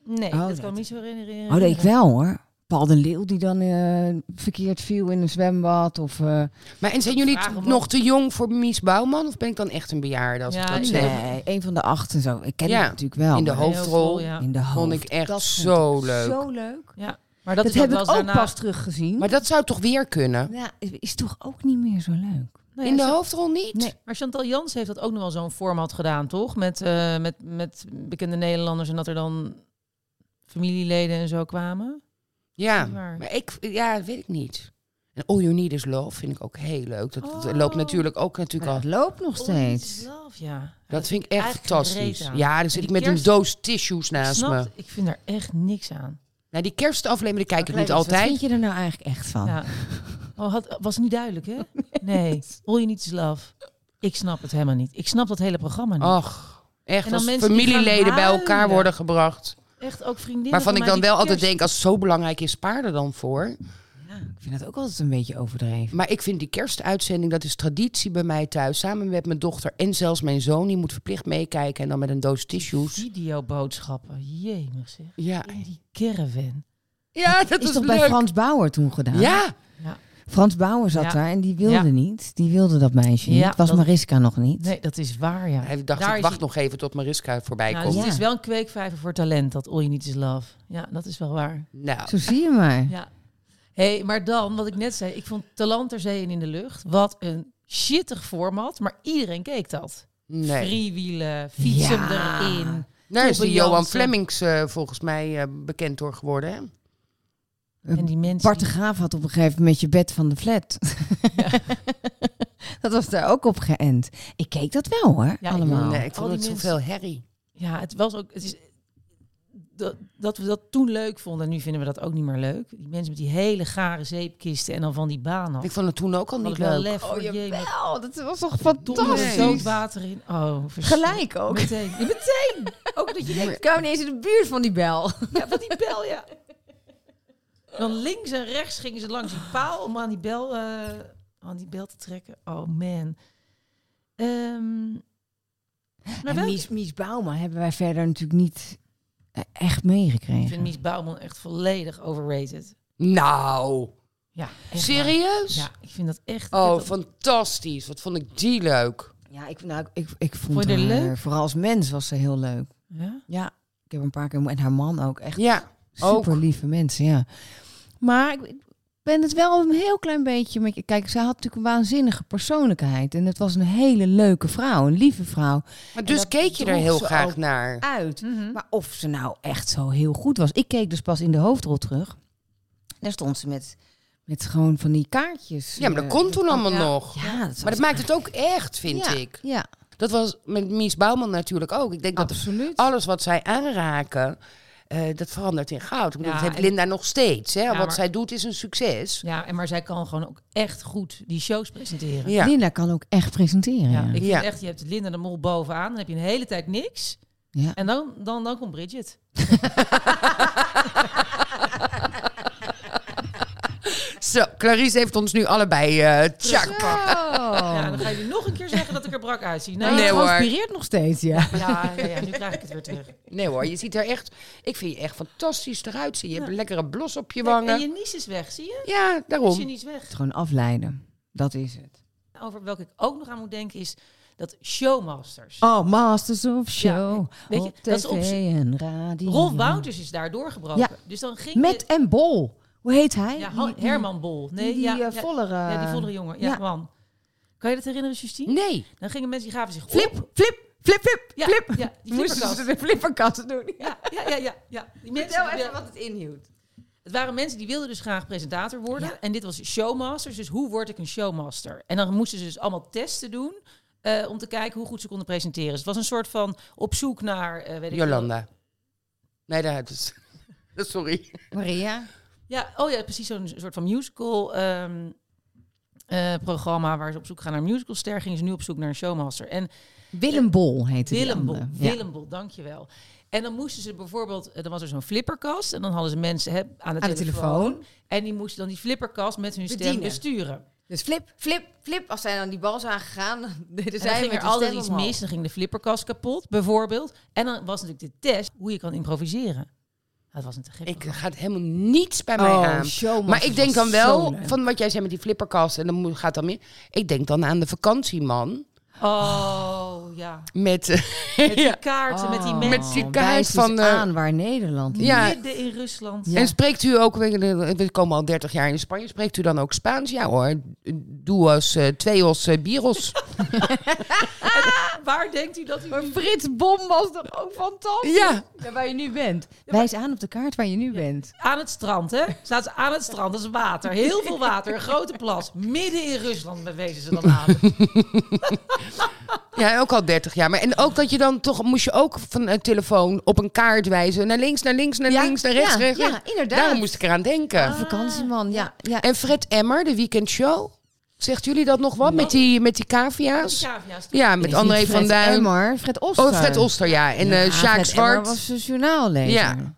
S5: Nee,
S3: Oh,
S5: dat
S3: dat-
S5: kan ik me niet zo herinneren.
S3: Oh, dat ik wel hoor. Paul de Leeuw die dan eh, verkeerd viel in een zwembad. Of, eh,
S6: Maar en zijn jullie
S5: Vraag
S6: t-
S5: hem
S6: nog
S5: op.
S6: te jong voor Mies Bouwman? Of ben ik dan echt een bejaarde als
S5: Ja,
S6: ik dat
S5: ik
S6: zeg?
S3: nee, een van de acht en zo. Ik ken
S6: Ja,
S3: het natuurlijk wel.
S6: in de
S3: maar-
S6: hoofd- hoofdrol.
S5: Ja.
S3: In de hoofd.
S6: Vond ik echt
S3: Nou, Oh, Dat vond
S6: zo
S3: ik
S6: leuk.
S3: Zo leuk.
S5: ja. Maar dat,
S3: dat
S5: is
S3: heb
S5: wel
S3: ik ook
S5: eens daarna-
S3: pas teruggezien.
S6: Maar dat zou toch weer kunnen?
S3: ja, is, is toch ook niet meer zo leuk.
S5: Nou ja,
S6: In de
S5: Chan-
S6: hoofdrol niet?
S3: Nee.
S5: Maar Chantal Jans heeft dat ook nog wel zo'n format gedaan, toch? Met, eh, met, met bekende Nederlanders en dat er dan familieleden en zo kwamen.
S6: Ja,
S5: Niet waar.
S6: maar ik, ja, weet ik niet. En All You Need Is Love vind ik ook heel leuk. Dat, dat
S5: Oh.
S6: loopt natuurlijk ook natuurlijk
S3: Maar
S6: al.
S3: dat loopt nog
S5: Oh,
S3: steeds.
S5: love, ja.
S6: Dat vind ik echt
S5: eigenlijk geen
S6: fantastisch.
S5: reet aan.
S6: Ja, dan zit
S5: Die
S6: ik met
S5: kerst-
S6: een doos tissues naast
S5: Snap,
S6: me.
S5: ik vind daar echt niks aan.
S6: Nou, die kerstaflevering kijk ik
S3: Leuk,
S6: niet
S3: dus Wat vind
S6: altijd.
S3: je er nou eigenlijk echt van?
S5: Ja. Oh, had, was niet duidelijk, hè? Nee. All you need is love. Ik snap het helemaal niet. Ik snap dat hele programma
S6: Oh.
S5: niet.
S6: Ach, echt
S5: dan
S6: als
S5: mensen die gaan
S6: familieleden bij elkaar
S5: huilen.
S6: worden gebracht.
S5: Echt ook vriendinnen.
S6: Waarvan
S5: van
S6: ik
S5: mij
S6: dan
S5: die
S6: wel altijd
S5: kerst-
S6: denk, als het zo belangrijk is, spaar er dan voor.
S3: Ik vind dat ook altijd een beetje overdreven.
S6: Maar ik vind die kerstuitzending, dat is traditie bij mij thuis. Samen met mijn dochter en zelfs mijn zoon. Die moet verplicht meekijken en dan met een doos tissues.
S5: Videoboodschappen. Jemig zeg.
S6: Ja,
S5: In die caravan.
S6: ja dat
S3: is
S6: is
S3: toch
S6: leuk.
S3: bij Frans Bauer toen gedaan?
S6: Ja,
S3: Frans Bauer zat
S5: Ja.
S3: daar en die wilde
S5: Ja.
S3: niet. Die wilde dat meisje
S5: Ja,
S3: niet. Was
S5: dat-
S3: Mariska nog niet.
S5: Nee, dat is waar, ja.
S6: hij dacht,
S5: Daar
S6: ik
S5: is
S6: wacht
S5: hij-
S6: nog even tot Mariska voorbij
S5: Nou,
S6: komt.
S5: dus
S3: Ja.
S5: het is wel een kweekvijver voor talent, dat All You Need Is Love. Ja, dat is wel waar.
S6: Nou,
S3: Zo zie je maar.
S5: Ja. hey, maar dan, wat ik net zei, ik vond Talant ter zee en in de lucht. Wat een shittig format, maar iedereen keek dat.
S6: nee.
S5: Driewielen, fietsen
S3: Ja.
S5: erin.
S6: Daar is die
S5: Tobbe
S6: Johan
S5: Jansen.
S6: Flemings eh, volgens mij eh, bekend door geworden. Hè?
S5: En die mensen.
S3: Bart de Graaf had op een gegeven moment je bed van de flat. dat was daar ook op geënt. Ik keek dat wel hoor,
S5: Ja, ik-
S3: allemaal.
S6: Nee, ik
S5: Al
S6: vond
S5: die
S6: het
S5: mensen.
S6: zoveel herrie.
S5: Ja, het was ook. Het is, dat, dat we dat toen leuk vonden en nu vinden we dat ook niet meer leuk. Die mensen met die hele gare zeepkisten en dan van die baan af.
S6: Ik vond het toen ook al
S5: Had
S6: niet
S5: ik wel
S6: leuk.
S5: lef voor je.
S3: Jawel, dat was toch
S5: Domme
S3: Oh, fantastisch.
S5: doodwater in. Oh, verschrikkelijk.
S3: Gelijk ook.
S5: Meteen. Ja, meteen. ook dat je denkt,
S3: Ik kwam ineens in de buurt van die bel.
S5: ja, van die bel, ja. Dan links en rechts gingen ze langs die paal om aan die bel, eh, aan die bel te trekken. Oh man. Ehm, maar
S3: en
S5: welke-
S3: Mies, Mies Bauma hebben wij verder natuurlijk niet eh, echt meegekregen.
S5: Ik vind Mies Bouwman echt volledig overrated.
S6: Nou,
S5: Ja, echt waar.
S6: serieus?
S5: Ja, ik vind dat echt... ik heb
S6: Oh,
S5: dat-
S6: fantastisch. Wat vond ik die leuk.
S3: Ja, ik, nou, ik, ik vond,
S5: Vond je haar
S3: haar,
S5: leuk?
S3: vooral als mens was ze heel leuk.
S5: Ja?
S3: Ja, ik heb een paar keer... En haar man ook, echt
S6: Ja, ook.
S3: super lieve mensen, ja. Maar ik, ik ben het wel een heel klein beetje met je... Kijk, zij had natuurlijk een waanzinnige persoonlijkheid. En het was een hele leuke vrouw, een lieve vrouw.
S6: Maar dus
S3: dat
S6: keek je er
S3: droeg
S6: heel
S3: ze
S6: graag
S3: ook
S6: naar.
S3: Uit. Maar of ze nou echt zo heel goed was. Ik keek dus pas in de hoofdrol terug. Daar stond ze met, met gewoon van die kaartjes.
S6: Ja, maar dat
S3: eh,
S6: kon toen allemaal
S3: ja.
S6: nog.
S3: Ja, dat was
S6: Maar dat maakt het ook echt, vind
S3: ja,
S6: ik.
S3: Ja,
S6: Dat was met Mies Bouwman natuurlijk ook. Ik denk dat Oh,
S3: absoluut.
S6: alles wat zij aanraken, eh, dat verandert in goud. Ik bedoel,
S5: Ja,
S6: dat heeft
S5: en-
S6: Linda nog steeds. Hè?
S5: Ja,
S6: wat
S5: maar-
S6: zij doet is een succes.
S5: ja, en maar zij kan gewoon ook echt goed die shows presenteren. Ja.
S6: Ja.
S3: Linda kan ook echt presenteren. Ja,
S5: ik vind
S6: Ja.
S5: echt, je hebt Linda de Mol bovenaan, dan heb je een hele tijd niks.
S3: Ja.
S5: En dan, dan, dan komt Bridget.
S6: Zo, Clarice heeft ons nu allebei eh tjak.
S3: Oh.
S5: Ja, dan ga je weer nog een keer zeggen dat ik er brak uitzie.
S6: Nee,
S5: ja.
S6: hoor.
S3: transpireert nog steeds, ja.
S5: Ja, ja, ja, nu krijg ik het weer terug.
S6: Nee hoor, je ziet er echt... Ik vind je echt fantastisch eruit zien. Je hebt een lekkere blos op je
S5: En
S6: wangen.
S5: je nies is weg, zie je?
S6: Ja,
S5: Is je
S6: daarom.
S5: nies weg.
S3: Gewoon afleiden. Dat is het.
S5: Over welke ik ook nog aan moet denken is dat showmasters.
S3: Oh, Masters of Show.
S5: Ja, weet je,
S3: op
S5: dat is
S3: tv
S5: op z'n-
S3: en radio.
S5: Rolf Wouters is daar doorgebroken.
S3: Ja.
S5: Dus dan ging
S3: Met
S5: je-
S3: en Bol. Hoe heet hij?
S5: ja,
S3: Die-
S5: Han-
S3: die-
S5: Herman Bol. Nee,
S3: die,
S5: ja,
S3: eh,
S5: ja,
S3: vollere-
S5: Ja, die vollere jongen. Ja,
S3: Ja. Hm?
S5: man. Kan je dat herinneren, Justine?
S6: Nee.
S5: Dan gingen mensen, die gaven zich op.
S3: Flip, flip, flip, flip,
S5: oh, Ja,
S3: flip.
S5: ja, die
S3: Moesten
S5: flipperkast.
S3: ze de flipperkasten doen.
S5: Ja, ja, ja, ja. ja. Die mensen,
S3: Vertel
S5: die-
S3: even wat het inhield.
S5: Het waren mensen die wilden dus graag presentator worden. En dit was showmasters. Dus hoe word ik een showmaster? En dan moesten ze dus allemaal testen doen. eh, om te kijken hoe goed ze konden presenteren. Dus het was een soort van op zoek naar... eh, weet ik
S6: Jolanda. Nee, daar heb je het. Sorry.
S3: Maria.
S5: Ja, oh ja, precies zo'n soort van musical ehm, eh, programma waar ze op zoek gaan naar een musicalster. Gingen ze nu op zoek naar een showmaster. En
S3: Willem Bol heette die
S5: Willem Bol,
S3: andere. Ja.
S5: Willem Bol, dankjewel. En dan moesten ze bijvoorbeeld, eh, dan was er zo'n flipperkast en dan hadden ze mensen hè, aan, de,
S3: Aan de
S5: telefoon,
S3: telefoon.
S5: En die moesten dan die flipperkast met hun stem
S3: Bedienen.
S5: besturen.
S3: Dus flip, flip, flip. Als zij dan die bal zijn gegaan, deden
S5: En dan
S3: zij
S5: ging
S3: met
S5: er
S3: de
S5: altijd
S3: stem
S5: iets
S3: omhoog.
S5: mis, dan ging de flipperkast kapot bijvoorbeeld. En dan was natuurlijk de test hoe je kan improviseren. Dat was een te gek.
S6: Ik gaat helemaal niets bij mij
S3: Oh,
S6: aan.
S3: showmasters
S6: maar ik denk
S3: was
S6: dan wel,
S3: zo leuk.
S6: van wat jij zei met die flipperkast en dan moet- gaat dan meer. Ik denk dan aan de vakantieman.
S5: Oh, ja.
S6: Met,
S5: Met die
S6: ja,
S5: kaarten, met die
S3: Oh,
S5: mensen.
S6: Met die
S3: wijs
S6: kaart
S3: eens
S6: van, eh,
S3: aan waar Nederland ligt.
S6: ja.
S5: Midden in Rusland.
S6: En spreekt u ook, we komen al 30 jaar in Spanje, spreekt u dan ook Spaans? Ja hoor, duos, eh tweos, eh, bieros.
S5: Waar denkt u dat u...
S3: Maar Frits Bom was toch ook fantastisch?
S6: ja,
S3: Ja, waar je nu bent. Wijs aan op de kaart waar je nu bent.
S5: Aan het strand, hè? Staat ze aan het strand. Dat is water. Heel veel water. Een grote plas. Midden in Rusland bewezen ze dan aan.
S6: ja, ook al 30 jaar. Maar, en ook dat je dan toch, moest je ook van een telefoon op een kaart wijzen. Naar links, naar links, naar
S3: Ja,
S6: links, naar rechts,
S3: ja,
S6: rechts,
S3: ja,
S6: rechts.
S3: inderdaad. Ah.
S6: Daarom moest ik eraan denken.
S3: Vakantieman, ja. ja.
S6: En Fred Emmer, de weekendshow. Zegt jullie dat nog
S3: Nou.
S6: wat met die, met die cavia's?
S5: Schaafja's.
S6: Ja, met André
S3: Fred
S6: van Duin.
S3: Emmer, Fred Oster.
S6: Oh, Fred Oster, ja. En eh
S3: Ja,
S6: Sjaak
S3: Fred Emmer
S6: Zwart.
S3: was een journaallezer.
S6: Ja.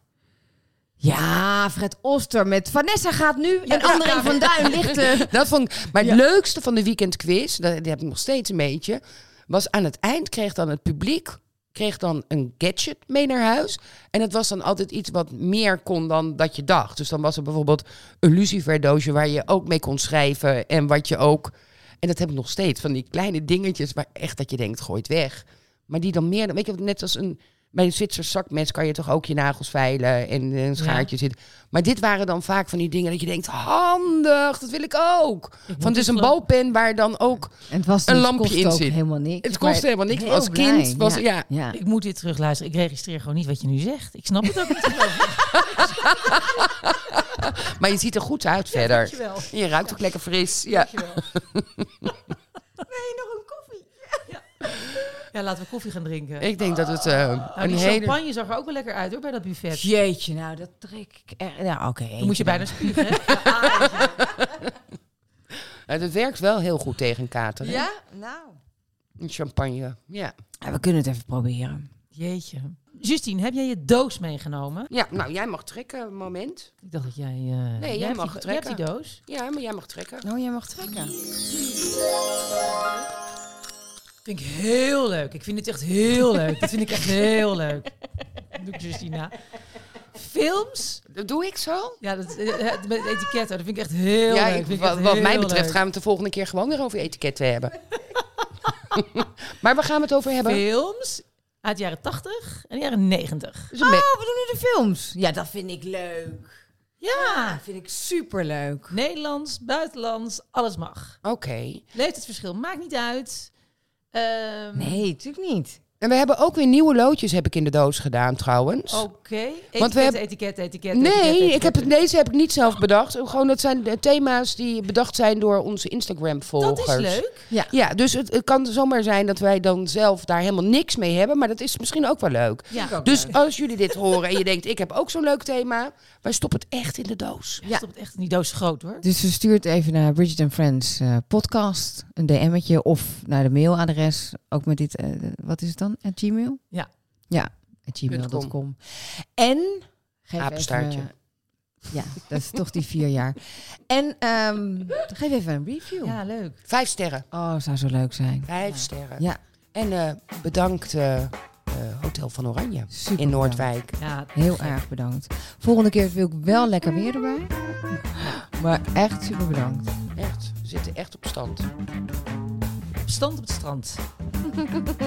S3: Ja, Fred Oster met Vanessa gaat nu en
S6: ja,
S3: André
S6: ja.
S3: van Duin ligt... eh,
S6: Dat vond ik- maar het leukste van de weekendquiz, dat, die heb ik nog steeds een beetje, was aan het eind kreeg dan het publiek kreeg dan een gadget mee naar huis. En dat was dan altijd iets wat meer kon dan dat je dacht. Dus dan was er bijvoorbeeld een luciferdoosje waar je ook mee kon schrijven en wat je ook... En dat heb ik nog steeds, van die kleine dingetjes waar echt dat je denkt, gooi het weg. Maar die dan meer... Weet je, net als een... Bij een Zwitser zakmes kan je toch ook je nagels veilen en een schaartje zitten. Maar dit waren dan vaak van die dingen dat je denkt, handig, dat wil ik ook. Van het is een balpen waar dan ook...
S3: En het was
S6: Een
S3: het
S6: lampje
S3: kost
S6: in
S3: ook
S6: zit.
S3: helemaal niks.
S6: Het kostte
S3: maar
S6: helemaal niks, maar
S3: heel
S6: als kind
S3: blij,
S6: was-
S3: ja.
S6: ja.
S3: ja.
S5: Ik moet dit terugluisteren. Ik registreer gewoon niet wat je nu zegt. Ik snap het ook niet.
S6: Maar je ziet er goed uit verder.
S5: dankjewel.
S6: En je ruikt ook lekker fris. Ja.
S5: Nee, nog een koffie. Ja. ja, laten we koffie gaan drinken.
S6: Ik denk dat het eh,
S5: Nou,
S6: een
S5: die
S6: hele...
S5: champagne zag er ook wel lekker uit hoor, bij dat buffet.
S3: Jeetje, nou dat trek ik er...
S6: nou,
S3: Ja, oké.
S5: Dan moet je bijna spieren. hè?
S6: Nou, Het werkt wel heel goed tegen een kater. hè?
S3: Ja, nou.
S6: Een Champagne. Ja.
S3: Ja, we kunnen het even proberen.
S5: Jeetje. Justine, heb jij je doos meegenomen?
S6: ja, nou jij mag trekken, moment.
S5: Ik dacht dat jij... eh, nee,
S6: jij
S5: hebt
S6: mag
S5: die,
S6: het
S5: jij hebt die
S6: trekken.
S5: doos.
S6: Ja, maar jij mag trekken.
S3: Nou, jij mag trekken.
S5: Vind ik heel leuk. Ik vind het echt heel leuk. Dat vind ik echt heel leuk. Doe ik Justina. Films.
S6: Dat doe ik zo.
S5: Ja, dat, eh, het- met etiketten. Dat vind ik echt heel
S6: ja,
S5: leuk.
S6: ik-
S5: Vind ik
S6: wat,
S5: echt
S6: wat mij
S5: heel
S6: betreft
S5: leuk.
S6: gaan we het de volgende keer gewoon weer over etiketten hebben. maar waar gaan we het over hebben?
S5: Films uit de jaren 80 en de jaren 90.
S6: Dus een me-
S3: Oh, we doen nu de films. Ja, dat vind ik leuk.
S5: Ja.
S6: Ah,
S3: Dat vind ik superleuk.
S5: Nederlands, buitenlands, alles mag.
S6: Oké.
S5: Leeftijdsverschil maakt niet uit. Ehm,
S3: Nee, natuurlijk niet.
S6: En we hebben ook weer nieuwe loodjes heb ik in de doos gedaan trouwens.
S5: Oké. Etiket,
S6: Want we hebben-
S5: etiket, etiket.
S6: Nee, ik heb het, deze heb ik niet zelf bedacht. Gewoon, dat zijn de thema's die bedacht zijn door onze
S5: Dat
S6: Instagram-volgers.
S5: is leuk.
S6: Ja, dus het, het kan zomaar zijn dat wij dan zelf daar helemaal niks mee hebben. Maar dat is misschien ook wel leuk.
S5: Ja.
S6: Dus als jullie dit horen en je denkt, ik heb ook zo'n leuk thema. Wij stoppen het echt in de doos.
S5: Ja. Stop het echt in die doos groot hoor.
S3: Dus ze stuurt even naar Bridget and Friends eh, podcast, een DM'tje of naar de mailadres. Ook met dit, eh, wat is het dan? At Gmail?
S5: Ja.
S3: Ja, at gmail.com. En... Geef
S6: Apenstaartje.
S3: Even, eh, ja, dat is toch die vier jaar. En ehm, geef even een review.
S5: Ja, leuk.
S6: Vijf sterren.
S3: Oh, zou zo leuk zijn.
S6: Vijf sterren.
S3: Ja.
S6: En eh, bedankt eh, eh, Hotel van Oranje
S3: Super
S6: in
S3: bedankt.
S6: Noordwijk.
S5: Ja,
S3: Heel erg bedankt. Volgende keer wil ik wel lekker weer erbij. Maar echt super bedankt.
S6: Echt, we zitten echt op stand.
S5: stand op het strand.